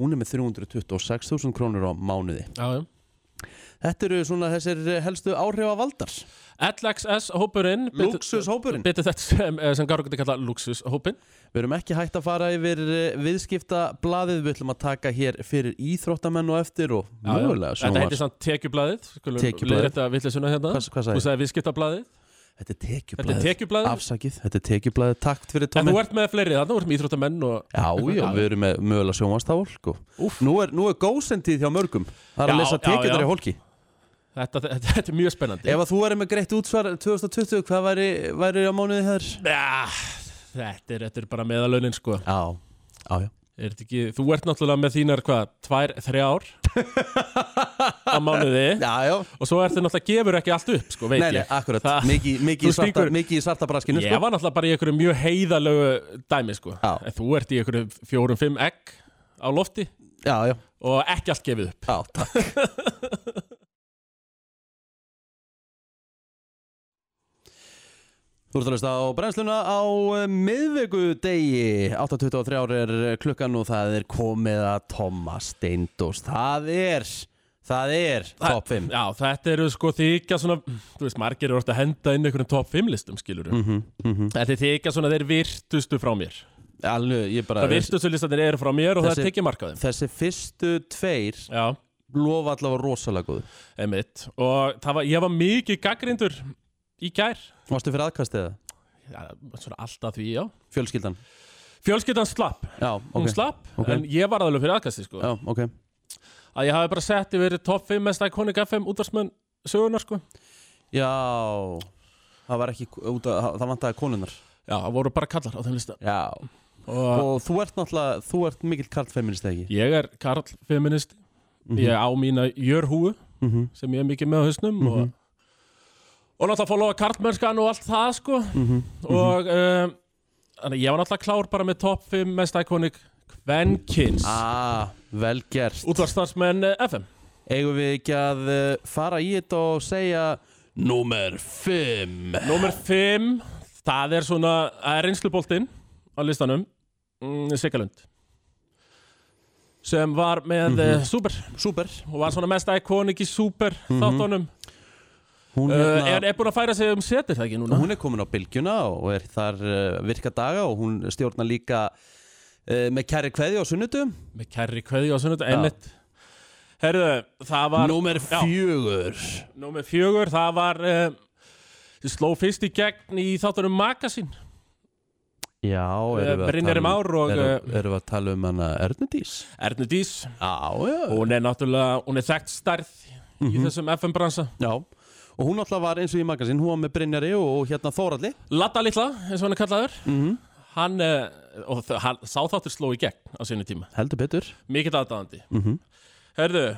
[SPEAKER 1] Hún er með 326.000 krónur á mánuði.
[SPEAKER 2] Já, já
[SPEAKER 1] Þetta eru svona þessir eh, helstu áhrif af valdar.
[SPEAKER 2] LXS hópurinn
[SPEAKER 1] Luxushópurinn.
[SPEAKER 2] Bitur þetta sem, eh, sem Garur getur kallað luxus hópinn
[SPEAKER 1] Við erum ekki hægt að fara yfir eh, viðskiptablaðið. Við ætlum að taka hér fyrir íþróttamenn og eftir og mögulega
[SPEAKER 2] Þetta heitir
[SPEAKER 1] sjónvars.
[SPEAKER 2] samt tekjublaðið Skulum
[SPEAKER 1] Tekjublaðið.
[SPEAKER 2] leiðrétta vitleysuna hérna
[SPEAKER 1] Hvað, hvað
[SPEAKER 2] Þú
[SPEAKER 1] sagði ég?
[SPEAKER 2] sagði viðskiptablaðið
[SPEAKER 1] Þetta er
[SPEAKER 2] Þetta er
[SPEAKER 1] tekjublaðið.
[SPEAKER 2] tekjublaðið
[SPEAKER 1] Afsakið, þetta er tekjublaðið. Takt fyrir
[SPEAKER 2] En
[SPEAKER 1] tónum.
[SPEAKER 2] þú ert með fleiri þarna, þú ert með íþróttamenn og
[SPEAKER 1] Já, já, við erum með mögulega sko. sjónvarstafólk og nú er, nú er góðsendið hjá mörgum. Það er
[SPEAKER 2] Já,
[SPEAKER 1] að lesa
[SPEAKER 2] já,
[SPEAKER 1] tekjundar
[SPEAKER 2] já.
[SPEAKER 1] í hólki.
[SPEAKER 2] þetta, þetta, þetta er mjög spennandi
[SPEAKER 1] Ef að þú væri með greitt útsvar 2020, hvað væri, væri á mánuði þér?
[SPEAKER 2] Já, þetta, er, þetta er bara meðalönin sko
[SPEAKER 1] Já, já, já.
[SPEAKER 2] er þetta ekki, Þú ert náttúrulega með þínar hvað, tvær, þrjár á mánuði
[SPEAKER 1] Já, já.
[SPEAKER 2] og svo ertu náttúrulega gefur ekki allt upp sko, veit
[SPEAKER 1] Nei, nei,
[SPEAKER 2] ég
[SPEAKER 1] akkurat.
[SPEAKER 2] Það-
[SPEAKER 1] Mikið miki
[SPEAKER 2] Þú
[SPEAKER 1] í svarta,
[SPEAKER 2] stingur-
[SPEAKER 1] miki svarta braskinu,
[SPEAKER 2] Ég
[SPEAKER 1] sko.
[SPEAKER 2] var náttúrulega bara í einhverju mjög heiðalögu dæmi sko
[SPEAKER 1] Já.
[SPEAKER 2] en þú ert í einhverju fjórum, fimm egg á lofti
[SPEAKER 1] Já, já.
[SPEAKER 2] og ekki allt gefið upp
[SPEAKER 1] Já, takk. Þú ert að hlusta á brennsluna á eh, miðvikudegi 8.23 er eh, klukkan og það er komið að Thomas Steindós. Það er, það er top 5.
[SPEAKER 2] Já, þetta eru sko þykja svona þú veist, margir eru orðið að henda inn einhverjum top 5 listum skilur mm.
[SPEAKER 1] Mhm, mhm.
[SPEAKER 2] Þetta er þykja svona þeir virtustu frá mér
[SPEAKER 1] Alveg, ég bara...
[SPEAKER 2] Það virtustu listanir eru frá mér og
[SPEAKER 1] Þessi-
[SPEAKER 2] það er tekið markaðum
[SPEAKER 1] þessi fyrstu tveir
[SPEAKER 2] Já,
[SPEAKER 1] lofa allavega rosalega góðu
[SPEAKER 2] einmitt og það var, ég var mikið gaggrindur í gær
[SPEAKER 1] Mástu fyrir aðkast eða?
[SPEAKER 2] já, svona alltaf því, já
[SPEAKER 1] Fjölskyldan?
[SPEAKER 2] Fjölskyldan slapp,
[SPEAKER 1] Já,
[SPEAKER 2] hún
[SPEAKER 1] ok
[SPEAKER 2] slapp
[SPEAKER 1] ok.
[SPEAKER 2] en ég var aðalveg fyrir aðkasti sko
[SPEAKER 1] Já, ok
[SPEAKER 2] að ég hafi bara sett yfir top 5 mest iconic FM útvarsmenn sögunar sko
[SPEAKER 1] Já Það var ekki út að, það vantaði konunar
[SPEAKER 2] Já, það voru bara kallar á þeim lista
[SPEAKER 1] Já
[SPEAKER 2] og
[SPEAKER 1] Og þú ert náttúrulega, þú ert mikill karlfeminist eða ekki
[SPEAKER 2] ég er karlfeminist
[SPEAKER 1] Mhm.
[SPEAKER 2] ég á mína jörhúu
[SPEAKER 1] mm -hmm.
[SPEAKER 2] sem ég er mikið með á hausnum
[SPEAKER 1] Mhm.
[SPEAKER 2] og, og náttúrulega fólóa karlmennskan og allt það sko
[SPEAKER 1] Mhm.
[SPEAKER 2] og um, þannig að ég var náttúrulega klár bara með top 5 mest iconic kvenkins
[SPEAKER 1] Ah, vel gert
[SPEAKER 2] útvarstarfsmenn eh, FM
[SPEAKER 1] Eigum við ekki að uh, fara í þetta og segja Númer 5
[SPEAKER 2] Númer 5 það er svona það er reynsluboltinn á listanum mm, Sigalund sem
[SPEAKER 1] Mhm.
[SPEAKER 2] var með mm Super
[SPEAKER 1] Súper
[SPEAKER 2] og var svona mest iconic í Super þáttunum
[SPEAKER 1] Mhm. Hún,
[SPEAKER 2] Uh,
[SPEAKER 1] hérna,
[SPEAKER 2] er, er búin að færa sig um setir það ekki núna?
[SPEAKER 1] hún er komin á bylgjuna og er þar uh, virka daga og hún stjórnar líka uh, með kæri kveði á sunnutum
[SPEAKER 2] Með kærri kveði og svona ennett Herðu, það var
[SPEAKER 1] Númer
[SPEAKER 2] Já.
[SPEAKER 1] fjögur
[SPEAKER 2] Númer fjögur, það var uh, sló fyrst í gegn í þáttunum Magasin
[SPEAKER 1] Já, erum við að
[SPEAKER 2] Eh, Brynjar
[SPEAKER 1] tala um-
[SPEAKER 2] Már og, eh,
[SPEAKER 1] erum, erum við að tala um hana Ernudís
[SPEAKER 2] Ernu Dís
[SPEAKER 1] Já, já,
[SPEAKER 2] Hún er náttúrulega, hún er þekkt stærð
[SPEAKER 1] Mhm.
[SPEAKER 2] í þessum FM-bransa
[SPEAKER 1] já Og hún alltaf var eins og í magasín, hún var með Brynjari og, og hérna Mhm. Þóralli
[SPEAKER 2] Latta litla, eins og hann er kallaður Hann, uh, og þ- hann sá þáttur sló í gegn á sinu tíma
[SPEAKER 1] Heldur betur
[SPEAKER 2] Mikill aðdáðandi
[SPEAKER 1] Mhm.
[SPEAKER 2] Herðu,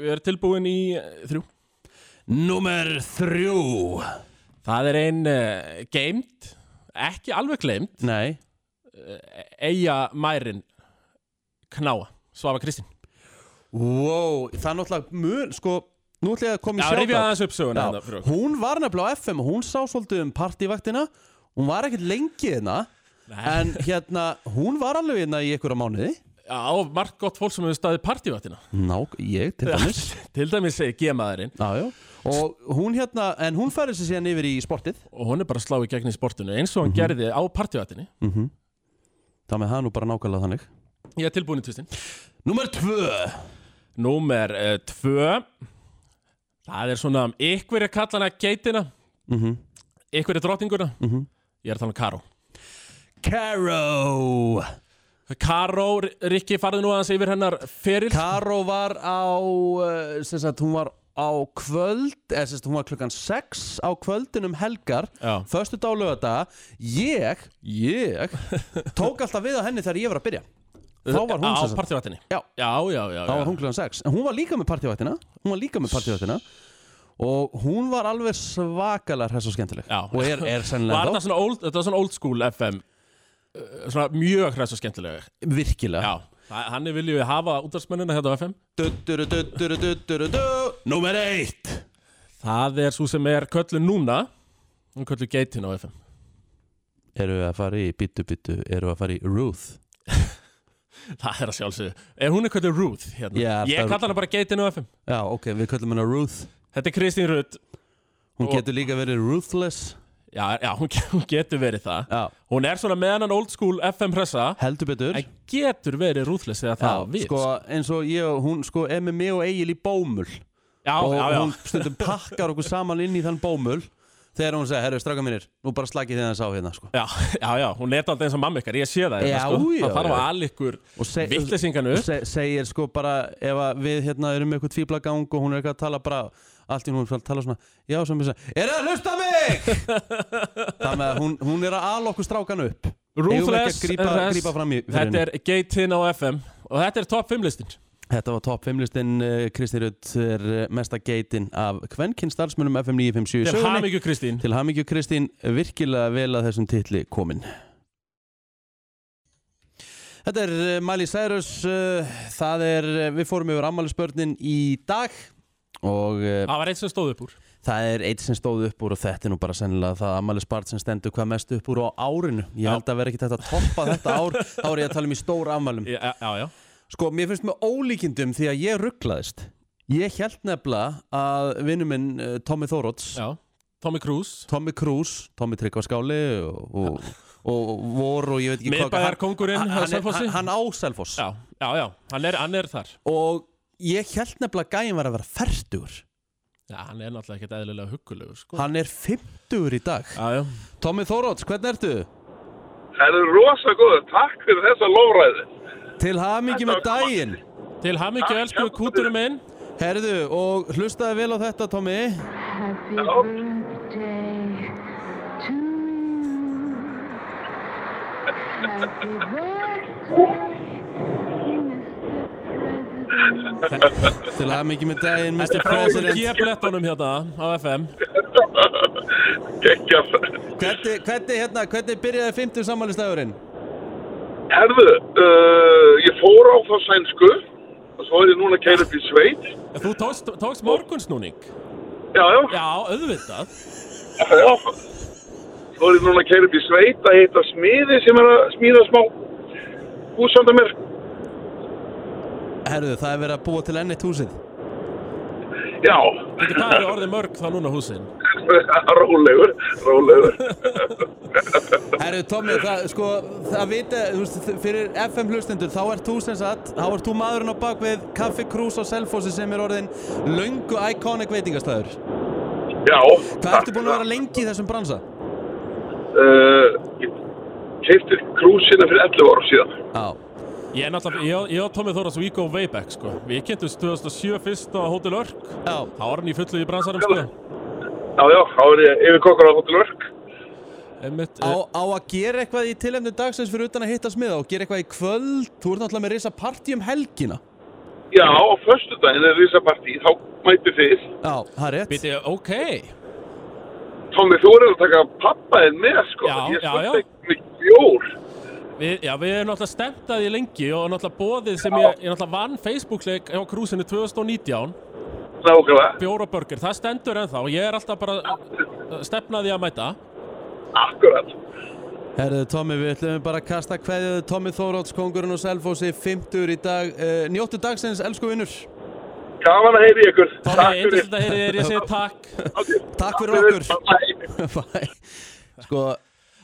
[SPEAKER 2] við erum tilbúin í uh, þrjú
[SPEAKER 1] Númer þrjú
[SPEAKER 2] Það er ein uh, geimt ekki alveg gleimt
[SPEAKER 1] Nei,
[SPEAKER 2] Eyja Mærin Knáa, Svafa Kristín
[SPEAKER 1] wow, það er náttúrulega mun, sko Nú ætla ég að koma í
[SPEAKER 2] Já,
[SPEAKER 1] sjátt
[SPEAKER 2] rifja aðeins upp söguna hérna fyrir
[SPEAKER 1] Já,
[SPEAKER 2] okkur.
[SPEAKER 1] hún var nefnilega á FM og hún sá svolítið um partívaktina hún var ekkert lengi hérna
[SPEAKER 2] Nei.
[SPEAKER 1] en hérna, hún var alveg hérna í einhverja mánuði
[SPEAKER 2] Já, margt gott fólk sem hefur staðið partívattina
[SPEAKER 1] Ná, ég til dæmis
[SPEAKER 2] Til dæmis eh, segir gemaðurinn
[SPEAKER 1] Já, já. og hún hérna, en hún færi sér síðan yfir í sportið
[SPEAKER 2] Og hún er bara að slá í gegn í sportinu Eins og hann gerði á partívattinni
[SPEAKER 1] Mhm. þá með það nú bara nákvæmlega þannig
[SPEAKER 2] Ég er tilbúin í tvistin
[SPEAKER 1] Númer tvö
[SPEAKER 2] Númer uh, tvö Það er svona Ykkur er kallana geitina
[SPEAKER 1] Mhm.
[SPEAKER 2] Ykkur er drottninguna Ég er að tala um Karó
[SPEAKER 1] Caro
[SPEAKER 2] Karó, Rikki farði nú aðeins yfir hennar feril
[SPEAKER 1] Caro var á eh, sem sagt, hún var á kvöld eða sem sagt, hún var klukkan 6 á kvöldin um helgar
[SPEAKER 2] Já.
[SPEAKER 1] föstu dálögata ég, ég tók alltaf við á henni þegar ég var að byrja þá var hún
[SPEAKER 2] Á
[SPEAKER 1] sem sagt
[SPEAKER 2] partívattinni
[SPEAKER 1] Já.
[SPEAKER 2] já, já, já,
[SPEAKER 1] þá
[SPEAKER 2] já.
[SPEAKER 1] var hún klukkan 6 en hún var líka með partívættina hún var líka með partívættina og hún var alveg svakalega hress og skemmtileg
[SPEAKER 2] Já.
[SPEAKER 1] og er, er
[SPEAKER 2] Var
[SPEAKER 1] sennilega
[SPEAKER 2] þetta svona old, þetta var svona old school FM uh, Svona mjög hræst og skemmtilega
[SPEAKER 1] þá virkilega
[SPEAKER 2] Já, þa- þannig viljum við hafa útvarsmennina hérna á FM
[SPEAKER 1] dutturu dutturu dutturu du nummer 1
[SPEAKER 2] Það er svo sem er köllu núna Hún köllu geitin á FM
[SPEAKER 1] eru við að fara í bitu bitu eru við að fara í Ruth
[SPEAKER 2] Það er að sjálfsögðu Er hún er köllu Ruth hérna?
[SPEAKER 1] Já,
[SPEAKER 2] Ég
[SPEAKER 1] það-
[SPEAKER 2] kalla hana bara geitin á FM
[SPEAKER 1] já ok við köllum hennar Ruth
[SPEAKER 2] Þetta er Kristín Ruth
[SPEAKER 1] hún
[SPEAKER 2] Og-
[SPEAKER 1] getur líka verið Ruthless
[SPEAKER 2] Já, já hún, ge- hún getur verið það
[SPEAKER 1] já
[SPEAKER 2] Hún er svona með hennan old school FM pressa
[SPEAKER 1] heldur betur
[SPEAKER 2] En getur verið rúðless eða það á við
[SPEAKER 1] sko eins og ég og hún sko er með mig og Egil í bómul
[SPEAKER 2] já,
[SPEAKER 1] og
[SPEAKER 2] já, já.
[SPEAKER 1] hún stundum pakkar okkur saman inn í þann bómul þegar hún segir, herru, straka mínir, nú bara slakið þið hans á hérna sko.
[SPEAKER 2] Já, já, já, hún leta alltaf eins og mamma ykkar, ég sé það
[SPEAKER 1] Já,
[SPEAKER 2] hérna, sko.
[SPEAKER 1] já,
[SPEAKER 2] Það þarf
[SPEAKER 1] já.
[SPEAKER 2] að ala ykkur
[SPEAKER 1] og seg-
[SPEAKER 2] vittlesingan upp
[SPEAKER 1] og se- segir sko bara ef að við hérna erum með eitthvað tvíblagang og hún er eitthvað að tala bara allt í hún er að tala svona já, sem við segja, er það að hlusta á mig? það með að hún, hún er að ala okkur strákan upp Eigum ekki
[SPEAKER 2] Ruthless
[SPEAKER 1] að grípa,
[SPEAKER 2] Ruthless.
[SPEAKER 1] grípa fram í fyrir
[SPEAKER 2] Þetta
[SPEAKER 1] henni.
[SPEAKER 2] er Geitin á FM Og þetta er top 5 listin
[SPEAKER 1] Þetta var top 5 listin uh, Kristi Rutt er uh, mesta geitin af kvenkinn starfsmönnum FM 957
[SPEAKER 2] Til
[SPEAKER 1] sögunni.
[SPEAKER 2] hamingju Kristín
[SPEAKER 1] Til hamingju Kristín, virkilega vel að þessum titli komin. Þetta er uh, Miley Cyrus, uh, það er, uh, við fórum yfir ammælisbörnin í dag og uh,
[SPEAKER 2] Það var eitt sem stóð upp úr
[SPEAKER 1] það er eitt sem stóð upp úr og þetta er nú bara sennilega það ammælisbart sem stendur hvað mest upp úr á árinu. Ég
[SPEAKER 2] Já.
[SPEAKER 1] held að vera ekki þetta að toppa þetta ár, þá er ég að tala um í stór ammælum.
[SPEAKER 2] Já, já, já
[SPEAKER 1] Sko, mér finnst með ólíkindum því að ég rugglaðist. Ég held nefnilega að vinnu minn uh, Tommy Þóróts
[SPEAKER 2] já. Tommy Cruise
[SPEAKER 1] Tommy Cruise, Tommy Tryggvaskáli og, og, og, og Vor og ég veit ekki
[SPEAKER 2] Miðbæjar kongurinn
[SPEAKER 1] hann,
[SPEAKER 2] á
[SPEAKER 1] hann, er-
[SPEAKER 2] Selfossi
[SPEAKER 1] hann, hann á Selfoss
[SPEAKER 2] Já, já, já, hann er, hann er þar
[SPEAKER 1] og ég held nefnilega að gæin var að vera færtur
[SPEAKER 2] Já, hann er náttúrulega ekkert eðlilega huggulegur sko.
[SPEAKER 1] hann er 50 í dag
[SPEAKER 2] Já, já
[SPEAKER 1] Tommy Þóróts, hvernig ertu?
[SPEAKER 5] Það eru rosa góður, takk fyrir þessa lofræði.
[SPEAKER 1] Til hamingi með
[SPEAKER 5] Þetta var
[SPEAKER 1] daginn
[SPEAKER 2] Til hamingju
[SPEAKER 5] Ah,
[SPEAKER 2] elsku
[SPEAKER 5] hjálpa
[SPEAKER 2] kúturum minn
[SPEAKER 1] Herðu, og hlustaði vel á þetta Tommy
[SPEAKER 6] Happy
[SPEAKER 5] Hello?
[SPEAKER 6] birthday to you. Happy birthday, Mr. President.
[SPEAKER 1] Til hamingi með daginn, Mr.
[SPEAKER 2] Prófum
[SPEAKER 1] President
[SPEAKER 2] G-blettunum hérna á FM
[SPEAKER 5] Gekkja.
[SPEAKER 1] Hvernig, hvernig, hérna, hvernig byrjaði 50 sammælistagurinn?
[SPEAKER 5] Herðu, uh, ég fór á þá sænsku og svo er ég núna að keira upp í sveit.
[SPEAKER 2] Þú tókst, tókst morgunsnúning
[SPEAKER 5] Já, já,
[SPEAKER 2] Já, auðvitað
[SPEAKER 5] já. Svo er ég núna að keira upp í sveit að hitta smiði sem er að smíða smá húsanda mér.
[SPEAKER 1] Herðu, það er verið að búa til ennitt húsið
[SPEAKER 5] Já,
[SPEAKER 2] Þetta hvað eru orðið mörg það núna húsin?
[SPEAKER 5] rólegur, rólegur.
[SPEAKER 1] Herru Tommi, það, sko, það vita, þú veist, fyrir FM hlustendur, þá ert þú sem sagt, þá ert þú maðurinn á bak við Kaffi Krús á Selfossi sem er orðin löngu iconic veitingastæður.
[SPEAKER 5] Já.
[SPEAKER 1] Hvað ertu búin að vera lengi í þessum bransa?
[SPEAKER 5] Uh, Keifti krúsina fyrir 11 árum síðan.
[SPEAKER 1] Já.
[SPEAKER 2] Ég er náttúrulega, ég, ég og Tómi Þóras, we go way back sko Við kynntumst 2007 fyrst á Hotel Örk
[SPEAKER 1] Já.
[SPEAKER 2] Þá var hann í fullu í bransarum sko
[SPEAKER 5] Já, já, þá er ég yfir kokkar á Hotel Vörk.
[SPEAKER 2] Einmitt,
[SPEAKER 1] Á,
[SPEAKER 2] eh,
[SPEAKER 1] á að gera eitthvað í tilefnu dagsins fyrir utan að hitta smiða og gera eitthvað í kvöld, þú ert náttúrulega með risa partí um helgina.
[SPEAKER 5] Já, á föstudaginn er risapartí, þá mæti þið.
[SPEAKER 1] Já, það er rétt.
[SPEAKER 2] Biti, ok
[SPEAKER 5] Tómi, þú er að taka pappaðinn með, sko.
[SPEAKER 2] Já,
[SPEAKER 5] ég
[SPEAKER 2] já,
[SPEAKER 5] skulda
[SPEAKER 2] já.
[SPEAKER 5] ekki mikið bjór.
[SPEAKER 2] við, Já, við erum náttúrulega stemtaði lengi Og náttúrulega bóðið sem ég, ég náttúrulega vann Facebook-leik á krúsinu 2019
[SPEAKER 5] Nákvæmlega,
[SPEAKER 2] Bjóra burger, það stendur ennþá Ég er alltaf bara eh, stefnaði að mæta
[SPEAKER 5] akkurat.
[SPEAKER 1] Herðu Tommi, við ætlum bara að kasta hverjuðu Tommi Þóróts, kongurinn og Selfossi, 50 í dag. Uh, njóttu dagsins, elsku vinnur.
[SPEAKER 5] Gaman að heyri ykkur.
[SPEAKER 2] Tómi, einnig þetta heyri þér, ég segi takk
[SPEAKER 1] Takk fyrir okkur.
[SPEAKER 5] okkur.
[SPEAKER 1] Bæ. sko,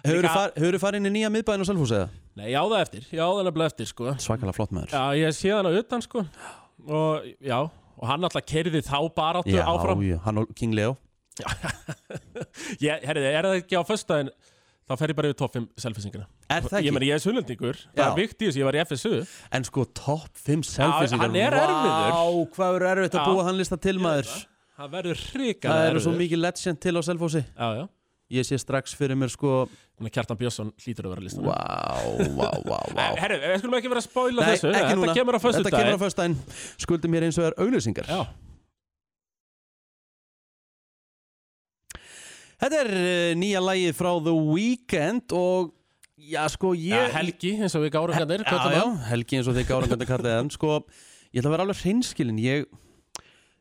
[SPEAKER 1] hefur þú farið inn í nýja miðbæðin á Selfossi eða?
[SPEAKER 2] Nei, ég á það eftir, ég á það nefnilega eftir sko
[SPEAKER 1] Svakalega flott maður.
[SPEAKER 2] Já, ég sé hana utan sko Og já, og hann alltaf kerði þá baráttu
[SPEAKER 1] Já,
[SPEAKER 2] áfram
[SPEAKER 1] já, hann og King Leo.
[SPEAKER 2] ég, Herriði, er það ekki á föstudaginn Þá fer ég bara yfir toffum selfisingina
[SPEAKER 1] Er það
[SPEAKER 2] Ég
[SPEAKER 1] ekki?
[SPEAKER 2] meni, ég er sunnlendingur Það
[SPEAKER 1] Já.
[SPEAKER 2] er vikt í þessu, ég var í FSU
[SPEAKER 1] En sko, topp 5 selfies
[SPEAKER 2] hann er
[SPEAKER 1] Vá,
[SPEAKER 2] erfiður.
[SPEAKER 1] hvað eru erfitt að
[SPEAKER 2] Já.
[SPEAKER 1] búa þann lista til maður.
[SPEAKER 2] Það verður hrikalega
[SPEAKER 1] Það eru
[SPEAKER 2] erfiður.
[SPEAKER 1] svo mikið legend til á Selfossi.
[SPEAKER 2] Já, já
[SPEAKER 1] Ég sé strax fyrir mér sko,
[SPEAKER 2] Þannig að Kjartan Björnsson hlýtur að vera á listanum
[SPEAKER 1] vá, vá, vá, vá.
[SPEAKER 2] Herru, við skulum ekki vera að spóila
[SPEAKER 1] Nei,
[SPEAKER 2] þessu
[SPEAKER 1] ekki
[SPEAKER 2] Þetta
[SPEAKER 1] núna.
[SPEAKER 2] kemur á föstudaginn
[SPEAKER 1] Þetta kemur á föstudaginn. Skuldum hér eins og er auglýsingar.
[SPEAKER 2] Já,
[SPEAKER 1] Þetta er uh, nýja lagið frá The Weeknd og já sko ég...
[SPEAKER 2] já, helgi eins og við hérna gárum gænir
[SPEAKER 1] Já, já, helgi eins og þeir gára hvernig kallið en sko ég ætla að vera alveg hreinskilin ég,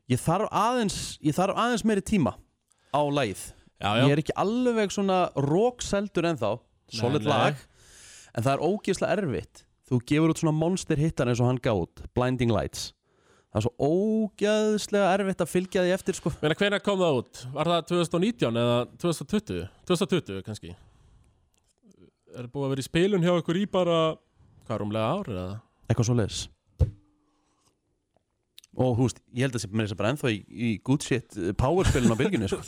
[SPEAKER 1] ég, þarf aðeins, ég þarf aðeins meiri tíma á lagið
[SPEAKER 2] já,
[SPEAKER 1] Ég
[SPEAKER 2] já.
[SPEAKER 1] er ekki alveg svona rókseldur ennþá Solid
[SPEAKER 2] nei.
[SPEAKER 1] lag En það er ógeðslega erfitt Þú gefur út svona monster hittar eins og hann gáð út Blinding Lights Það er svo ógeðslega erfitt að fylgja því eftir sko
[SPEAKER 2] Meina, hvenær kom það út? Var það 2019 eða 2020? 2020 kannski Er það búið að vera í spilun hjá ykkur í bara Hvað rúmlega ár eða?
[SPEAKER 1] Eitthvað svo leis Og þú veist, ég held að sé mér þess að bara ennþá í, í good shit powerspilin á bylginni sko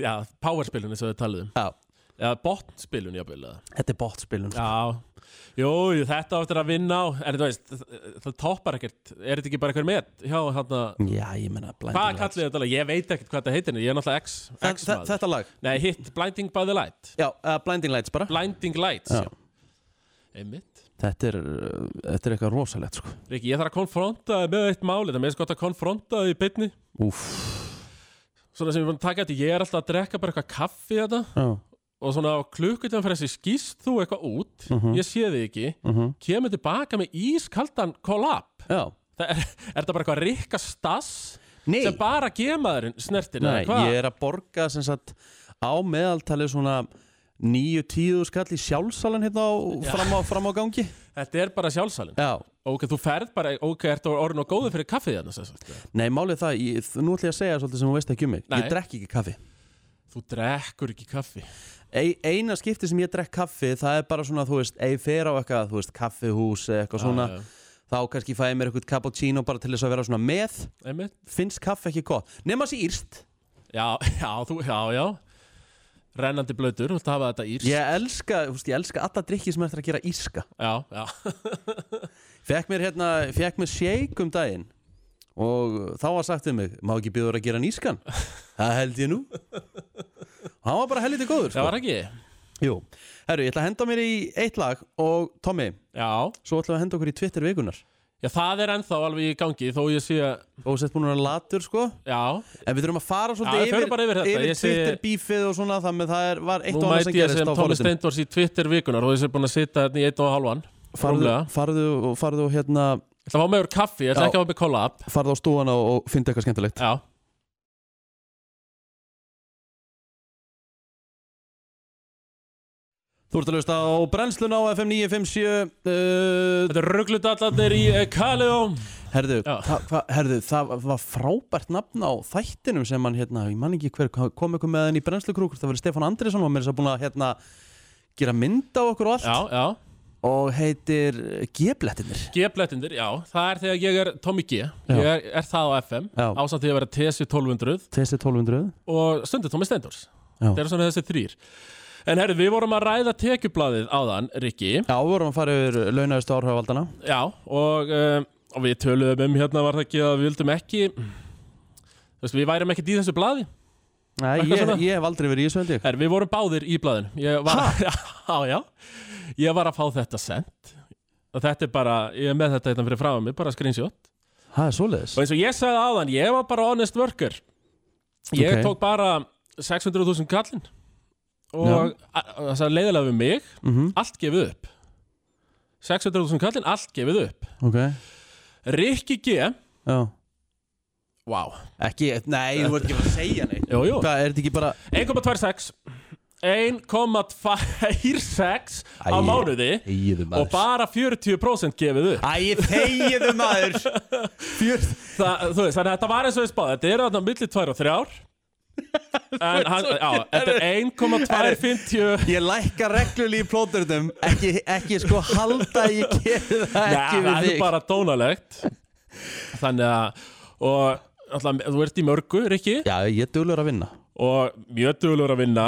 [SPEAKER 2] Já, powerspilun eins og þið talið um
[SPEAKER 1] Já,
[SPEAKER 2] Já, botspilun jafnvel eða
[SPEAKER 1] þetta er botspilin sko.
[SPEAKER 2] Já, jú, jú, þetta áttur að vinna á En þú veist, það- það toppar ekkert Er þetta ekki bara eitthvað með hjá hann
[SPEAKER 1] Já, ég menna Blinding
[SPEAKER 2] Hvað
[SPEAKER 1] Lights
[SPEAKER 2] kallið þetta? lag? Ég veit ekkert hvað þetta heitir Ég er náttúrulega X,
[SPEAKER 1] Þa-
[SPEAKER 2] X
[SPEAKER 1] þa- Þetta lag,
[SPEAKER 2] Nei, hitt Blinding by the Light
[SPEAKER 1] já, uh, Blinding Lights bara
[SPEAKER 2] Blinding Lights
[SPEAKER 1] Já.
[SPEAKER 2] já. Einmitt
[SPEAKER 1] Þetta er, uh, þetta er eitthvað rosalegt sko
[SPEAKER 2] Riki, ég þarf að konfronta þig með eitt máli Það með þess gott að konfronta þig í beinni
[SPEAKER 1] Úff,
[SPEAKER 2] Svona sem ég er búin að taka þetta Ég er alltaf að drekka bara eitthvað kaffi þetta
[SPEAKER 1] já,
[SPEAKER 2] Og svona á klukkutum fyrir þessi skýst þú eitthvað út Ég sé þig ekki Kemur tilbaka með ískaldan kollab
[SPEAKER 1] já
[SPEAKER 2] Það er, er þetta bara eitthvað rikka stass
[SPEAKER 1] Nei.
[SPEAKER 2] Sem bara gemaðurinn snertir eða
[SPEAKER 1] Nei,
[SPEAKER 2] hvað?
[SPEAKER 1] ég er að borga sem sagt á meðaltalið svona 9-10 skall í sjálfsalan hérna á, fram, á, fram á gangi
[SPEAKER 2] Þetta er bara sjálfsalinn
[SPEAKER 1] Já,
[SPEAKER 2] Ok, þú ferð bara, ok, ertu orðin og góður fyrir kaffið þarna sem sagt.
[SPEAKER 1] nei, málið er það ég, nú ætla ég að segja svolítið sem þú veist ekki um mig
[SPEAKER 2] Nei.
[SPEAKER 1] Ég drekk ekki kaffi
[SPEAKER 2] Þú drekkur ekki kaffi
[SPEAKER 1] Ei- Eina skipti sem ég drekk kaffi það er bara svona, þú veist, ei fer á eitthvað þú veist, kaffihús eða eitthvað svona
[SPEAKER 2] já.
[SPEAKER 1] þá kannski fæði mér eitthvað cappuccino bara til þess að vera svona með
[SPEAKER 2] Einmitt
[SPEAKER 1] finnst kaffi ekki gott, nema sér írst
[SPEAKER 2] Já, já, þú, já, já Rennandi blöytur, þú vilt hafa þetta írs
[SPEAKER 1] ég elska, þú veist, ég elska alla drikki sem er eftir að gera írska
[SPEAKER 2] Já,
[SPEAKER 1] Sko.
[SPEAKER 2] já,
[SPEAKER 1] Fekk mér hérna, fekk mér shake um daginn og þá var sagt um mig má ekki byrður að gera nýskan það held ég nú hann var bara helviti góður
[SPEAKER 2] það
[SPEAKER 1] sko.
[SPEAKER 2] var ekki
[SPEAKER 1] Jú, herru, ég ætla að henda mér í eitt lag og Tommy,
[SPEAKER 2] Já,
[SPEAKER 1] svo ætla að henda okkur í Twitter vikunar
[SPEAKER 2] já, það er ennþá alveg í gangi Þó ég sé að,
[SPEAKER 1] og sett búin að vera latur sko
[SPEAKER 2] já
[SPEAKER 1] en við þurfum að fara
[SPEAKER 2] Já,
[SPEAKER 1] svolítið
[SPEAKER 2] við förum bara yfir þetta. Ég sé-
[SPEAKER 1] Twitter bífið og svona þannig að það er, var eitt
[SPEAKER 2] Nú
[SPEAKER 1] og annað sem
[SPEAKER 2] mæti ég
[SPEAKER 1] gerist
[SPEAKER 2] sem
[SPEAKER 1] á
[SPEAKER 2] Tómi
[SPEAKER 1] fóruðum
[SPEAKER 2] Steindors í Twitter vikunar Og þessi er búin að sita hérna í einn og halvan
[SPEAKER 1] farðu,
[SPEAKER 2] Rúmlega.
[SPEAKER 1] farðu, og- farðu og hérna
[SPEAKER 2] Það var meður kaffi, ég ætla
[SPEAKER 1] Já.
[SPEAKER 2] ekki að hafa með kollab
[SPEAKER 1] farðu á stúana og, og fyndu eitthvað skemmtilegt
[SPEAKER 2] Já
[SPEAKER 1] Þú ert að hlusta á brennsluna á FM 957 uh,
[SPEAKER 2] Þetta er rugglutallarnir í eh, Kaleo
[SPEAKER 1] Herðu,
[SPEAKER 2] Já.
[SPEAKER 1] það, hva, herðu, það var frábært nafn á þættinum sem hann, hérna, ég man ekki hver, kom eitthvað með hann í brennslukrúkur, það var Stefán Andrésson og mér er svo búin að, hérna, gera mynd á okkur og allt
[SPEAKER 2] Já, já,
[SPEAKER 1] og heitir eh, G-blettinir.
[SPEAKER 2] G-blettindir, já, það er þegar ég er Tommy G, ég er, er það á FM
[SPEAKER 1] Já.
[SPEAKER 2] ásamt því að vera TC 1200
[SPEAKER 1] TC 1200.
[SPEAKER 2] og stundu Tommy Stendors
[SPEAKER 1] Já.
[SPEAKER 2] það eru svona þessi þrýr En herru, við vorum að ræða tekjublaðið áðan, Rikki
[SPEAKER 1] Já, við vorum að fara yfir launauðustu árhaugavaldana.
[SPEAKER 2] Já, og, um, og við töluðum um hérna var það ekki að við vildum ekki Þú veist, við værum ekki í þessu blaði
[SPEAKER 1] Nei,
[SPEAKER 2] Eitthvað
[SPEAKER 1] ég,
[SPEAKER 2] svona?
[SPEAKER 1] ég hef aldrei verið í þessu held ég.
[SPEAKER 2] Herru, við vorum báðir í blaðinu Ég var, já, já, ég var að fá þetta sent og þetta er bara, ég er með þetta hérna fyrir frá mig, bara screenshot
[SPEAKER 1] Það er svoleiðis.
[SPEAKER 2] Og eins og ég sagði áðan, ég var bara honest worker Ég
[SPEAKER 1] Ok.
[SPEAKER 2] tók bara 600.000 kallinn Og a- a- það sagði leiðilega við mig
[SPEAKER 1] Mhm.
[SPEAKER 2] Allt gefið upp 600.000 kallinn, allt gefið upp
[SPEAKER 1] Ok,
[SPEAKER 2] Rikki G
[SPEAKER 1] já.
[SPEAKER 2] Vá
[SPEAKER 1] Ekki, nei, þú ert ekki að segja neitt.
[SPEAKER 2] Jú, jú
[SPEAKER 1] Hvað, er þetta ekki bara...
[SPEAKER 2] 1,26 1,26 á
[SPEAKER 1] Æi.
[SPEAKER 2] mánuði
[SPEAKER 1] Ægiðu
[SPEAKER 2] Og bara 40% gefið upp
[SPEAKER 1] Æ, þegiðu maður. Fjörð.
[SPEAKER 2] Þa, þú veist, þannig að þetta var eins og við spáði Þetta eru þarna milli 2 og 3 En hann, já, þetta er 1,250
[SPEAKER 1] Ég lækka reglulí í plóturnum ekki, ekki sko halda að ég gerði það ekki
[SPEAKER 2] Já,
[SPEAKER 1] við
[SPEAKER 2] það er
[SPEAKER 1] þig
[SPEAKER 2] bara dónalegt Þannig að og, alltaf, þú ert í mörgu, Rikki
[SPEAKER 1] Já, ég er duglur að vinna
[SPEAKER 2] og mjög duglur að vinna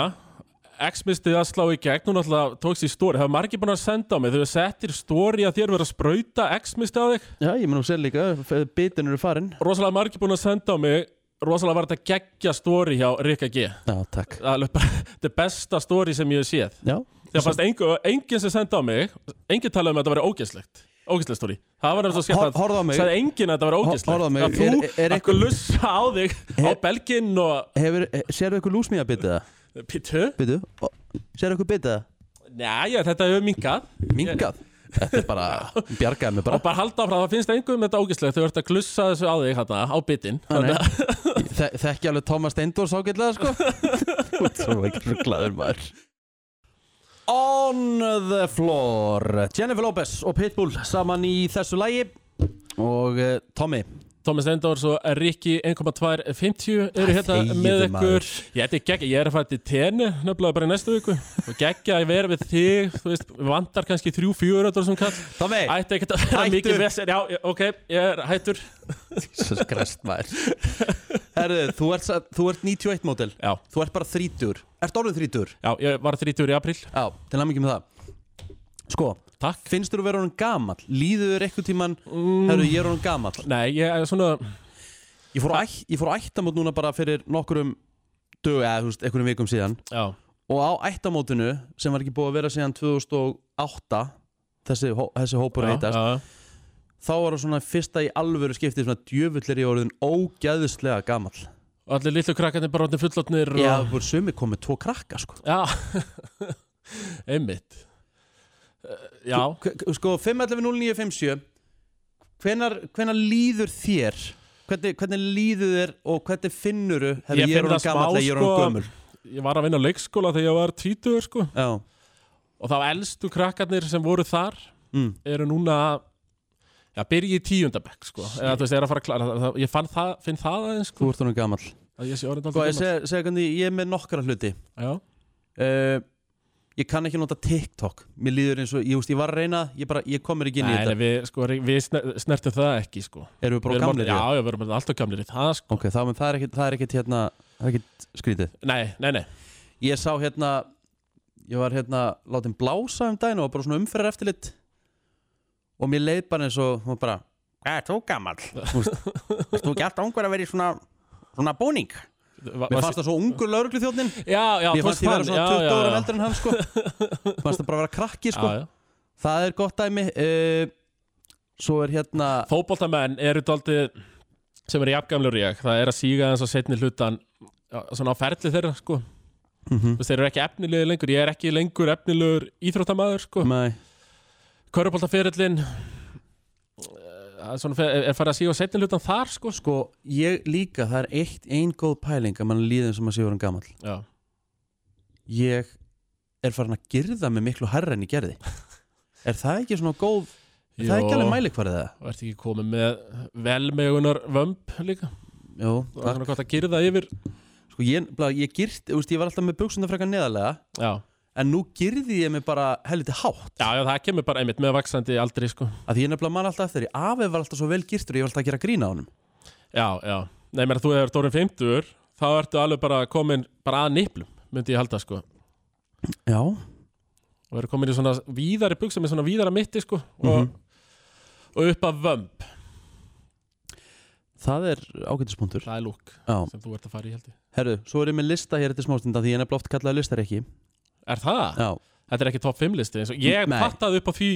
[SPEAKER 2] X-mistið að slá í gegn hún alltaf tókst í stóri, hefur margir búin að senda á mig þegar settir stóri að þér vera að sprauta X-mistið á þig,
[SPEAKER 1] Já, ég mun að sér líka, bitin eru farin
[SPEAKER 2] rosalega margir búin að senda á mig rosalega var þetta geggja stóri hjá Rikka G
[SPEAKER 1] Já, takk
[SPEAKER 2] það er alveg bara, þetta er besta stóri sem ég hef séð
[SPEAKER 1] Já,
[SPEAKER 2] þegar fannst engu, enginn sem senda á mig enginn talaði um að þetta væri ógeðslegt ógeðslegt stóri, það var náttúrulega
[SPEAKER 1] Hor-
[SPEAKER 2] skemmt
[SPEAKER 1] horfðu á mig.
[SPEAKER 2] sagði enginn að þetta væri ógeðslegt
[SPEAKER 1] Horfðu á mig.
[SPEAKER 2] að þú,
[SPEAKER 1] Er-
[SPEAKER 2] er,
[SPEAKER 1] er
[SPEAKER 2] að þú lussa á þig á belginn og
[SPEAKER 1] hefur, eh, sérðu eitthvað lúsmíða bitið það?
[SPEAKER 2] pitu,
[SPEAKER 1] Bitu, Ó, sérðu eitthvað bitið það?
[SPEAKER 2] næja þetta hefur minkað
[SPEAKER 1] Mingað Þetta er bara, bjargaði mig
[SPEAKER 2] og
[SPEAKER 1] bara
[SPEAKER 2] bara halda áfram, það finnst engum þetta ógeðslegt þau ert að glussa þessu á þig hana, á bitinn
[SPEAKER 1] Þannig,
[SPEAKER 2] Þannig að-
[SPEAKER 1] þe þekki alveg Thomas Steindor sákillega sko Þú ert Svo ekki rugglaður maður On the floor Jennifer Lopez og Pitbull saman í þessu lagi og uh, Tommy
[SPEAKER 2] Thomas Endors og Rikki 1,250 eru hérna
[SPEAKER 1] þegiðu,
[SPEAKER 2] með
[SPEAKER 1] maður.
[SPEAKER 2] ykkur ég, þetta er geggja, ég er að fara til tenni nefnilega bara í næstu viku og geggja að vera við þig þú veist, vantar kannski 3-4 sem kall
[SPEAKER 1] Tommy,
[SPEAKER 2] Ætti ekkert að vera
[SPEAKER 1] Hættur.
[SPEAKER 2] mikið vesen Já, já, ok, ég er hættur
[SPEAKER 1] Jesus Christ maður Herðu, þú ert, sa- þú ert 91 mótil
[SPEAKER 2] Já,
[SPEAKER 1] Þú ert bara 30 Ert orðin 30
[SPEAKER 2] já, ég var 30 í april
[SPEAKER 1] Já, til að mikið með það Sko,
[SPEAKER 2] Takk
[SPEAKER 1] finnst þú að vera honum gamall? Líður þér eitthvað tíman mm. Herðu, ég er honum gamall
[SPEAKER 2] Nei, ég er svona
[SPEAKER 1] Ég fór, á ætt, ég fór á ættamót núna bara fyrir nokkurum dög, eða þú veist, einhverjum vikum síðan
[SPEAKER 2] Já,
[SPEAKER 1] og á ættamótinu sem var ekki búið að vera síðan 2008 þessi, hó- þessi hópur
[SPEAKER 2] já,
[SPEAKER 1] að heitast
[SPEAKER 2] já.
[SPEAKER 1] þá var það svona fyrsta í alvöru skiptið svona djöfullir í orðin ógæðislega gamall
[SPEAKER 2] Og allir litlu krakkarnir bara orðin fullotnir
[SPEAKER 1] Já,
[SPEAKER 2] og...
[SPEAKER 1] það voru sumi komið tvo krakka sko
[SPEAKER 2] já. Einmitt Eh, Já,
[SPEAKER 1] K- k- Sko, 5.11.09.57 hvenar, hvenar líður þér? Hvernig, hvernig líður þér og hvernig finnuru hefur
[SPEAKER 2] Ég
[SPEAKER 1] ég, ég
[SPEAKER 2] finn
[SPEAKER 1] er honum
[SPEAKER 2] það
[SPEAKER 1] gamall
[SPEAKER 2] smá,
[SPEAKER 1] eða ég er honum
[SPEAKER 2] sko.
[SPEAKER 1] gömul?
[SPEAKER 2] ég var að vinna á leikskóla þegar ég var 20 sko.
[SPEAKER 1] Já,
[SPEAKER 2] og þá elstu krakkarnir sem voru þar
[SPEAKER 1] mm.
[SPEAKER 2] eru núna Já, byrja í tíundabekk sko. Eða, þú veist, er að fara að klara það- Ég fann það, finn það aðeins sko.
[SPEAKER 1] þú ert honum gamall
[SPEAKER 2] að ég sé orðin
[SPEAKER 1] Sko, ég
[SPEAKER 2] dálítið
[SPEAKER 1] segja, segja hvernig ég er með nokkra hluti
[SPEAKER 2] gamall. Já,
[SPEAKER 1] uh, Ég kann ekki nota TikTok Mér líður eins og, ég, veist, ég var að reyna Ég, bara, ég komir ekki inn í
[SPEAKER 2] Nei, nei,
[SPEAKER 1] þetta
[SPEAKER 2] við, sko, við sner- snertum það ekki sko.
[SPEAKER 1] Erum við bara á
[SPEAKER 2] Við erum
[SPEAKER 1] gamlir
[SPEAKER 2] orðin-
[SPEAKER 1] í það?
[SPEAKER 2] Já, já, við erum alltaf gamlir í það sko.
[SPEAKER 1] Ok, þá, menn, það er ekkit, það er ekkit hérna Það er ekkit skrítið
[SPEAKER 2] Nei, nei, nei
[SPEAKER 1] Ég sá hérna Ég var hérna látin blása um daginn Og var bara svona umferðar eftirlit Og mér leið bara eins og hún var bara,
[SPEAKER 3] Hvað er þú gammal? Erst þú ekki alltaf ungur að vera í svona, svona búning?
[SPEAKER 2] Va-
[SPEAKER 1] Mér
[SPEAKER 2] var-
[SPEAKER 1] fannst það svo ungur lauruglu þjóðnin
[SPEAKER 2] Já, já,
[SPEAKER 1] Mér
[SPEAKER 2] tókst
[SPEAKER 1] fannst ég vera
[SPEAKER 2] hann,
[SPEAKER 1] svona
[SPEAKER 2] já,
[SPEAKER 1] 20
[SPEAKER 2] já,
[SPEAKER 1] ára
[SPEAKER 2] já.
[SPEAKER 1] veldur en hann sko Mér fannst það bara vera krakki sko
[SPEAKER 2] Já, já.
[SPEAKER 1] Það er gott dæmi uh, Svo er hérna
[SPEAKER 2] Fótboltamenn eru daldið sem eru jafngamlur ég það er að síga þess að setni hlutan já, svona á ferli þeirra sko
[SPEAKER 1] Mhm.
[SPEAKER 2] Þú veist, þeir eru ekki efnilegur lengur ég er ekki lengur efnilegur íþróttamaður sko
[SPEAKER 1] Nei
[SPEAKER 2] Köruboltaferillin svona, fer- eh, er farið að síga á setni hlutan þar sko
[SPEAKER 1] Sko, ég líka, það er eitt einn góð pæling að mann líðin sem að sé vorum gamall
[SPEAKER 2] Já,
[SPEAKER 1] Ég er farin að girða mig miklu herra en ég gerði Er það ekki svona góð Það er ekki alveg
[SPEAKER 2] mæli
[SPEAKER 1] mæli hvað er það
[SPEAKER 2] Og ert ekki komið með velmegunar vömb líka
[SPEAKER 1] Jú,
[SPEAKER 2] Og það er
[SPEAKER 1] takk
[SPEAKER 2] svona gott að gyrða yfir
[SPEAKER 1] Sko ég, blá, ég girt, þú veist, ég var alltaf með buksundar frekar neðarlega
[SPEAKER 2] Já,
[SPEAKER 1] En nú girði ég mig bara helviti hátt
[SPEAKER 2] já, já það kemur bara einmitt með vaksandi aldri sko
[SPEAKER 1] Af því ég nefnilega man alltaf eftir Í afi var alltaf svo vel girtur og ég var alltaf að gera grína á honum
[SPEAKER 2] Já, já Nei, mér að þú hefur stórin 50 Þá ertu alveg bara komin bara að niplum Myndi ég halda sko
[SPEAKER 1] Já,
[SPEAKER 2] og eru komin í svona víðari buksa með svona víðara mitti sko og,
[SPEAKER 1] Mhm.
[SPEAKER 2] og upp að vömb
[SPEAKER 1] það er ágætispunktur
[SPEAKER 2] það er lúk
[SPEAKER 1] Já,
[SPEAKER 2] sem þú ert að fara í heldur
[SPEAKER 1] herru, svo er ég með lista hér eftir smástunda Því ég er nefnilega oft kallaði listar ekki
[SPEAKER 2] er það?
[SPEAKER 1] Já,
[SPEAKER 2] þetta er ekki top 5 listi eins og ég
[SPEAKER 1] Nei.
[SPEAKER 2] fattaði upp á því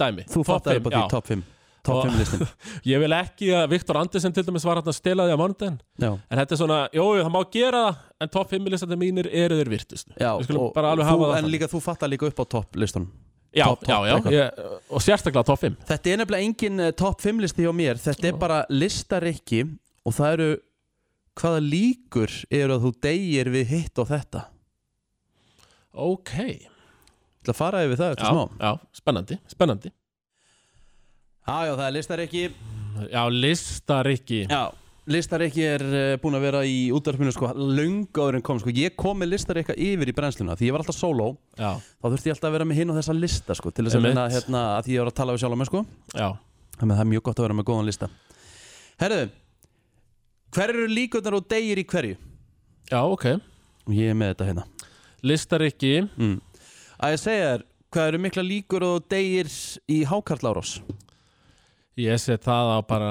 [SPEAKER 2] dæmi
[SPEAKER 1] þú fattar upp á því
[SPEAKER 2] já.
[SPEAKER 1] top 5 Top
[SPEAKER 2] Og-
[SPEAKER 1] 5 listin
[SPEAKER 2] ég vil ekki að Viktor Andersen til dæmis var hann að stela því á mánudaginn
[SPEAKER 1] Já,
[SPEAKER 2] en þetta er svona, jújú það má gera það en top 5 listandi mínir eru þeir virtustu
[SPEAKER 1] já
[SPEAKER 2] við skulum
[SPEAKER 1] og
[SPEAKER 2] bara alveg
[SPEAKER 1] þú,
[SPEAKER 2] hafa
[SPEAKER 1] En
[SPEAKER 2] það þannig.
[SPEAKER 1] líka þú fattar líka upp á top listunum
[SPEAKER 2] já,
[SPEAKER 1] top, top,
[SPEAKER 2] já, já,
[SPEAKER 1] eitthvað.
[SPEAKER 2] ég, og sérstaklega top 5
[SPEAKER 1] Þetta er nefnilega engin eh, top 5 listi hjá mér Þetta er bara listarikki og það eru hvaða líkur eru að þú deyir við hitt og þetta Ég
[SPEAKER 2] ok,
[SPEAKER 1] ætla að fara yfir það eftir
[SPEAKER 2] já,
[SPEAKER 1] smá
[SPEAKER 2] já, spennandi spennandi,
[SPEAKER 1] Já, já, það er listarikki
[SPEAKER 2] já, listarikki
[SPEAKER 1] Já, listarikki er eh, búin að vera í útdarpinu sko löngu áður en kom sko Ég kom með listarikka yfir í brennsluna því ég var alltaf solo
[SPEAKER 2] já,
[SPEAKER 1] þá þurfti ég alltaf að vera með hinn og þessa lista sko til þess að
[SPEAKER 2] Einmitt.
[SPEAKER 1] vinna hérna að því ég var að tala við sjálf með sko
[SPEAKER 2] já
[SPEAKER 1] Þannig að það er mjög gott að vera með góðan lista Herðu, hver eru líkurnar og deyir í hverju?
[SPEAKER 2] Já, ok.
[SPEAKER 1] Og ég er með þetta hérna
[SPEAKER 2] Listarikki,
[SPEAKER 1] að ég segja þér hvað eru mikla líkur og degir í hákarlárós
[SPEAKER 2] Ég set það á bara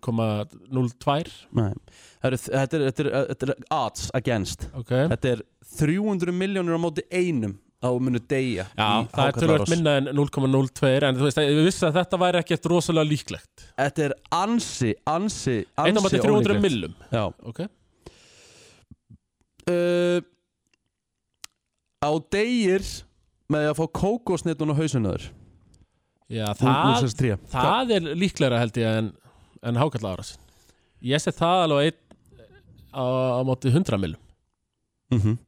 [SPEAKER 2] 0,02
[SPEAKER 1] Nei. Það eru- þetta er, þetta, er, þetta er odds against
[SPEAKER 2] Ok
[SPEAKER 1] þetta er 300 miljónur á móti einum að þú munu deyja
[SPEAKER 2] Já,
[SPEAKER 1] í
[SPEAKER 2] það er tölvöld
[SPEAKER 1] hákarlárós.
[SPEAKER 2] minna en 0,02 en þú veist, ég vissi að þetta væri ekkert rosalega líklegt
[SPEAKER 1] þetta er ansi, ansi, ansi
[SPEAKER 2] Einn á mætti 300
[SPEAKER 1] ólíklegt.
[SPEAKER 2] millum
[SPEAKER 1] Já.
[SPEAKER 2] Ok,
[SPEAKER 1] uh, á degir með því að fá kókosnitun á hausunöður
[SPEAKER 2] já, það,
[SPEAKER 1] það,
[SPEAKER 2] það er líklegra held ég en, en hákalla áras Ég set það alveg einn á, á móti 100 millum
[SPEAKER 1] Mhm.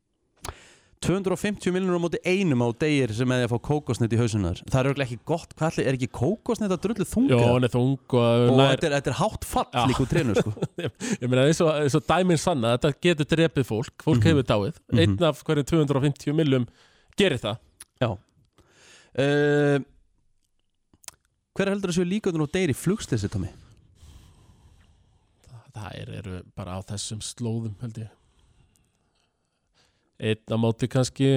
[SPEAKER 1] 250 miljónur á móti einum á degir sem með því að fá kókosnit í hausunar það er örugglega ekki gott, hvað allir, er ekki kókosnit að drullu
[SPEAKER 2] Jó,
[SPEAKER 1] þunga
[SPEAKER 2] hann er þung og,
[SPEAKER 1] og
[SPEAKER 2] nær,
[SPEAKER 1] þetta, er, þetta er hátt
[SPEAKER 2] Já.
[SPEAKER 1] fall líka úr trénu sko.
[SPEAKER 2] Ég meina, eins og, eins og dæmin sanna Þetta getur drepið fólk, fólk hefur dáið Einn af hverjum 250 millum gerir það
[SPEAKER 1] uh, hver heldur að séu líköndur og deyri flugslissi Tommy?
[SPEAKER 2] Það er, eru bara á þessum slóðum held ég Einn á móti kannski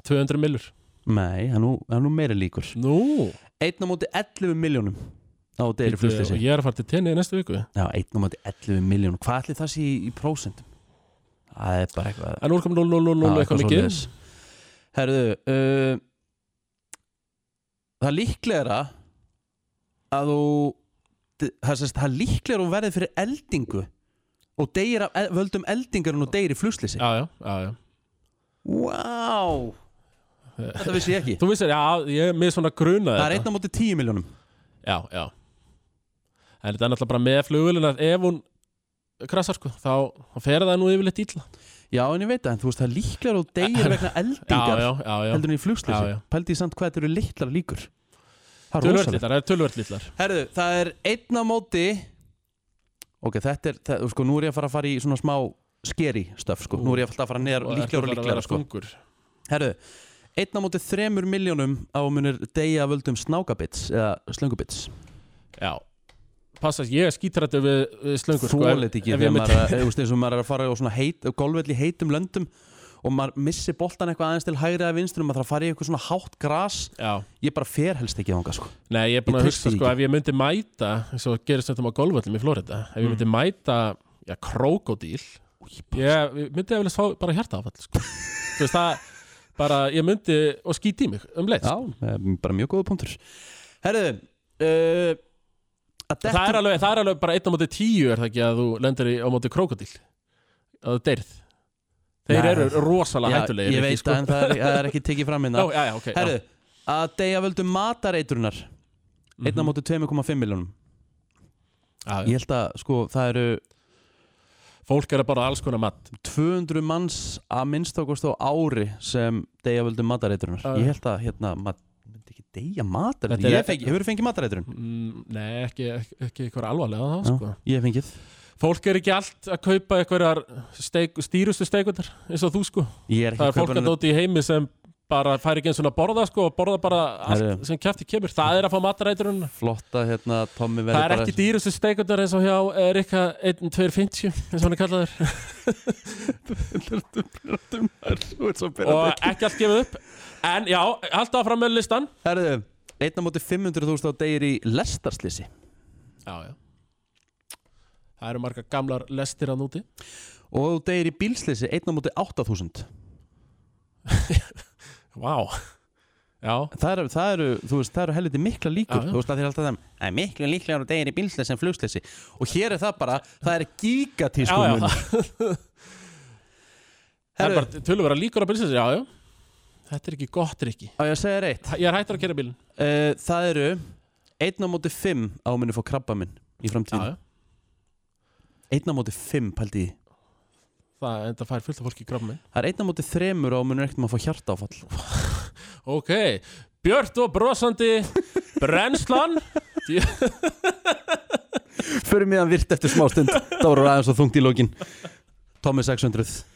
[SPEAKER 2] 200 millur
[SPEAKER 1] nei, það er nú, það er nú meira líkur
[SPEAKER 2] Nú,
[SPEAKER 1] 1 á móti 11 miljónum á deyri
[SPEAKER 2] bíddu, og
[SPEAKER 1] flugslissi
[SPEAKER 2] ég er að fara til tenni í næstu viku
[SPEAKER 1] já, 1 á móti 11 miljónum hvað allir það sé í, í prósentum? það er bara eitthvað
[SPEAKER 2] En 0,000
[SPEAKER 1] Já,
[SPEAKER 2] Ah, eitthvað mikið
[SPEAKER 1] svoleiðis. Herðu uh, Það er líklegra að þú það, sérst, það er líklegra að þú verði fyrir eldingu og deyir af el- völdum eldingar en þú deyir í flugslýsi
[SPEAKER 2] Já, já, já, já
[SPEAKER 1] wow. Þetta vissi ég ekki
[SPEAKER 2] Þú vissir, já, ég er með svona gruna
[SPEAKER 1] Það er einn á móti 10 miljónum
[SPEAKER 2] Já, já En þetta er náttúrulega bara með flugulina Ef hún krassar sko Þá þá fer það nú yfirleitt ítla
[SPEAKER 1] Já en ég veit það, en þú veist það er líklegra að þú deyir vegna
[SPEAKER 2] Já,
[SPEAKER 1] eldingar
[SPEAKER 2] já, já, já
[SPEAKER 1] heldur en í
[SPEAKER 2] Já,
[SPEAKER 1] flugslýsi
[SPEAKER 2] já.
[SPEAKER 1] Pældi ég samt hvað þetta eru litlar líkur Það er
[SPEAKER 2] Tölvört
[SPEAKER 1] rosalegt
[SPEAKER 2] litlar, það er tölvört litlar
[SPEAKER 1] Herðu, það er einn á móti Ok, þetta er, það, sko, nú er ég að fara að fara í svona smá skeri stöf, sko, nú er ég alltaf að fara neðar
[SPEAKER 2] Og
[SPEAKER 1] líklegur og
[SPEAKER 2] ertu að
[SPEAKER 1] líklegur,
[SPEAKER 2] fara að vera
[SPEAKER 1] sko
[SPEAKER 2] þungur.
[SPEAKER 1] Herðu, einn á móti þremur miljónum á munir deyja af völdum snákabits eða slöngubits
[SPEAKER 2] Já Passa, ég er skítrættu við, við slöngur sko,
[SPEAKER 1] Þólit ekki
[SPEAKER 2] ef ég
[SPEAKER 1] þegar
[SPEAKER 2] myndi,
[SPEAKER 1] maður, er að- eða, þú veist, eins og maður er að fara á svona heit, golfvelli í heitum löndum og maður missi boltan eitthvað aðeins til hægri að vinstur og maður þarf að fara í eitthvað svona hátt gras
[SPEAKER 2] Já,
[SPEAKER 1] ég bara fer helst ekki þangað, sko
[SPEAKER 2] nei, ég er búin
[SPEAKER 1] Ég
[SPEAKER 2] að
[SPEAKER 1] treysti
[SPEAKER 2] hugsa
[SPEAKER 1] því
[SPEAKER 2] sko,
[SPEAKER 1] ekki.
[SPEAKER 2] ef ég myndi mæta Svo gerist þetta á golföllum í Florida Ef
[SPEAKER 1] Mm.
[SPEAKER 2] ég myndi mæta, já, krókodíl Ég ég myndi eflega fá bara hjarta áfall sko. Þú veist það Bara, ég myndi, og skíti í mig um leið
[SPEAKER 1] Já,
[SPEAKER 2] sko.
[SPEAKER 1] eh, bara mjög góða punktur Herðu, uh, að
[SPEAKER 2] það,
[SPEAKER 1] detta-
[SPEAKER 2] er alveg, það er alveg bara einn á móti tíu Er það ekki að þú lendir í, á móti krókodíl Að þú deyrð Þeir
[SPEAKER 1] Nei.
[SPEAKER 2] eru rosalega
[SPEAKER 1] Já,
[SPEAKER 2] hættulegir
[SPEAKER 1] Ég
[SPEAKER 2] ekki,
[SPEAKER 1] veit
[SPEAKER 2] sko.
[SPEAKER 1] það, en það er, það er ekki tekið fram
[SPEAKER 2] Já,
[SPEAKER 1] hérna
[SPEAKER 2] já, já, ok já.
[SPEAKER 1] Herru, að deyja völdum matareitrunar
[SPEAKER 2] Mhm.
[SPEAKER 1] einna móti 2,5 miljónum
[SPEAKER 2] já, já.
[SPEAKER 1] Ég held að, sko, það eru
[SPEAKER 2] Fólk er að bara alls konar mat
[SPEAKER 1] 200 manns að minnst okkurst á ári sem deyja völdum matareitrunar
[SPEAKER 2] Já, já.
[SPEAKER 1] Ég held að, hérna, maður myndi myndi ekki deyja matarættur
[SPEAKER 2] Þetta er-
[SPEAKER 1] Ég fengi, hefur fengið matarætturinn
[SPEAKER 2] Mm, Nei, ekki, ekki, ekki eitthvað alvarlega þá,
[SPEAKER 1] Já.
[SPEAKER 2] sko.
[SPEAKER 1] Ég hef fengið
[SPEAKER 2] Fólk er ekki allt að kaupa eitthvað steik, stýrustu steikundar eins og þú sko.
[SPEAKER 1] Ég er ekki
[SPEAKER 2] Það er fólk
[SPEAKER 1] kaupa
[SPEAKER 2] að
[SPEAKER 1] neina-
[SPEAKER 2] dóti í heimi sem bara fær ekki eins og að borða sko og borða bara allt
[SPEAKER 1] Herru.
[SPEAKER 2] sem kæfti kemur. Það er að fá mataræturinn.
[SPEAKER 1] flotta hérna Tommy verður
[SPEAKER 2] Það er ekki dýrustu steikundar eins og hjá Erika 1250 eins og hann er kallaður.
[SPEAKER 1] dýr
[SPEAKER 2] og ekki allt gefið upp. En já, halda áfram með listan.
[SPEAKER 1] Herðu, einna móti 500.000 á degir í lestarslisi
[SPEAKER 2] Já, já. Það eru marga gamlar lestir að núti.
[SPEAKER 1] og þú degir í bílslisi einna móti 8.000
[SPEAKER 2] Vá. Já,
[SPEAKER 1] það eru, það eru, þú veist, það eru helviti mikla líkur
[SPEAKER 2] Já, já.
[SPEAKER 1] þú veist það er alltaf þeim það er miklu líklegar á degir í bílslisi en flugslisi og hér er það bara, það er gigatísku
[SPEAKER 2] Já, já.
[SPEAKER 1] mun
[SPEAKER 2] Það er
[SPEAKER 1] Herru.
[SPEAKER 2] bara tölur vera líkur á bilsins, já, já. Þetta er ekki gott, Rikki.
[SPEAKER 1] og ég að segja reitt
[SPEAKER 2] Ég er hættur að kera bílinn.
[SPEAKER 1] uh, það eru einna móti 5 á minni fór krabba minn í framtíðin einna móti 5 pældi ég.
[SPEAKER 2] Það enda fær fullt af fólki í krafmi.
[SPEAKER 1] það er einna móti 3 á minni ekkert maður fór hjartáfall
[SPEAKER 2] Ok, björt og brosandi brennslan.
[SPEAKER 1] Förum við að virt eftir smástund Það voru aðeins og þungt í lókin Tommy 600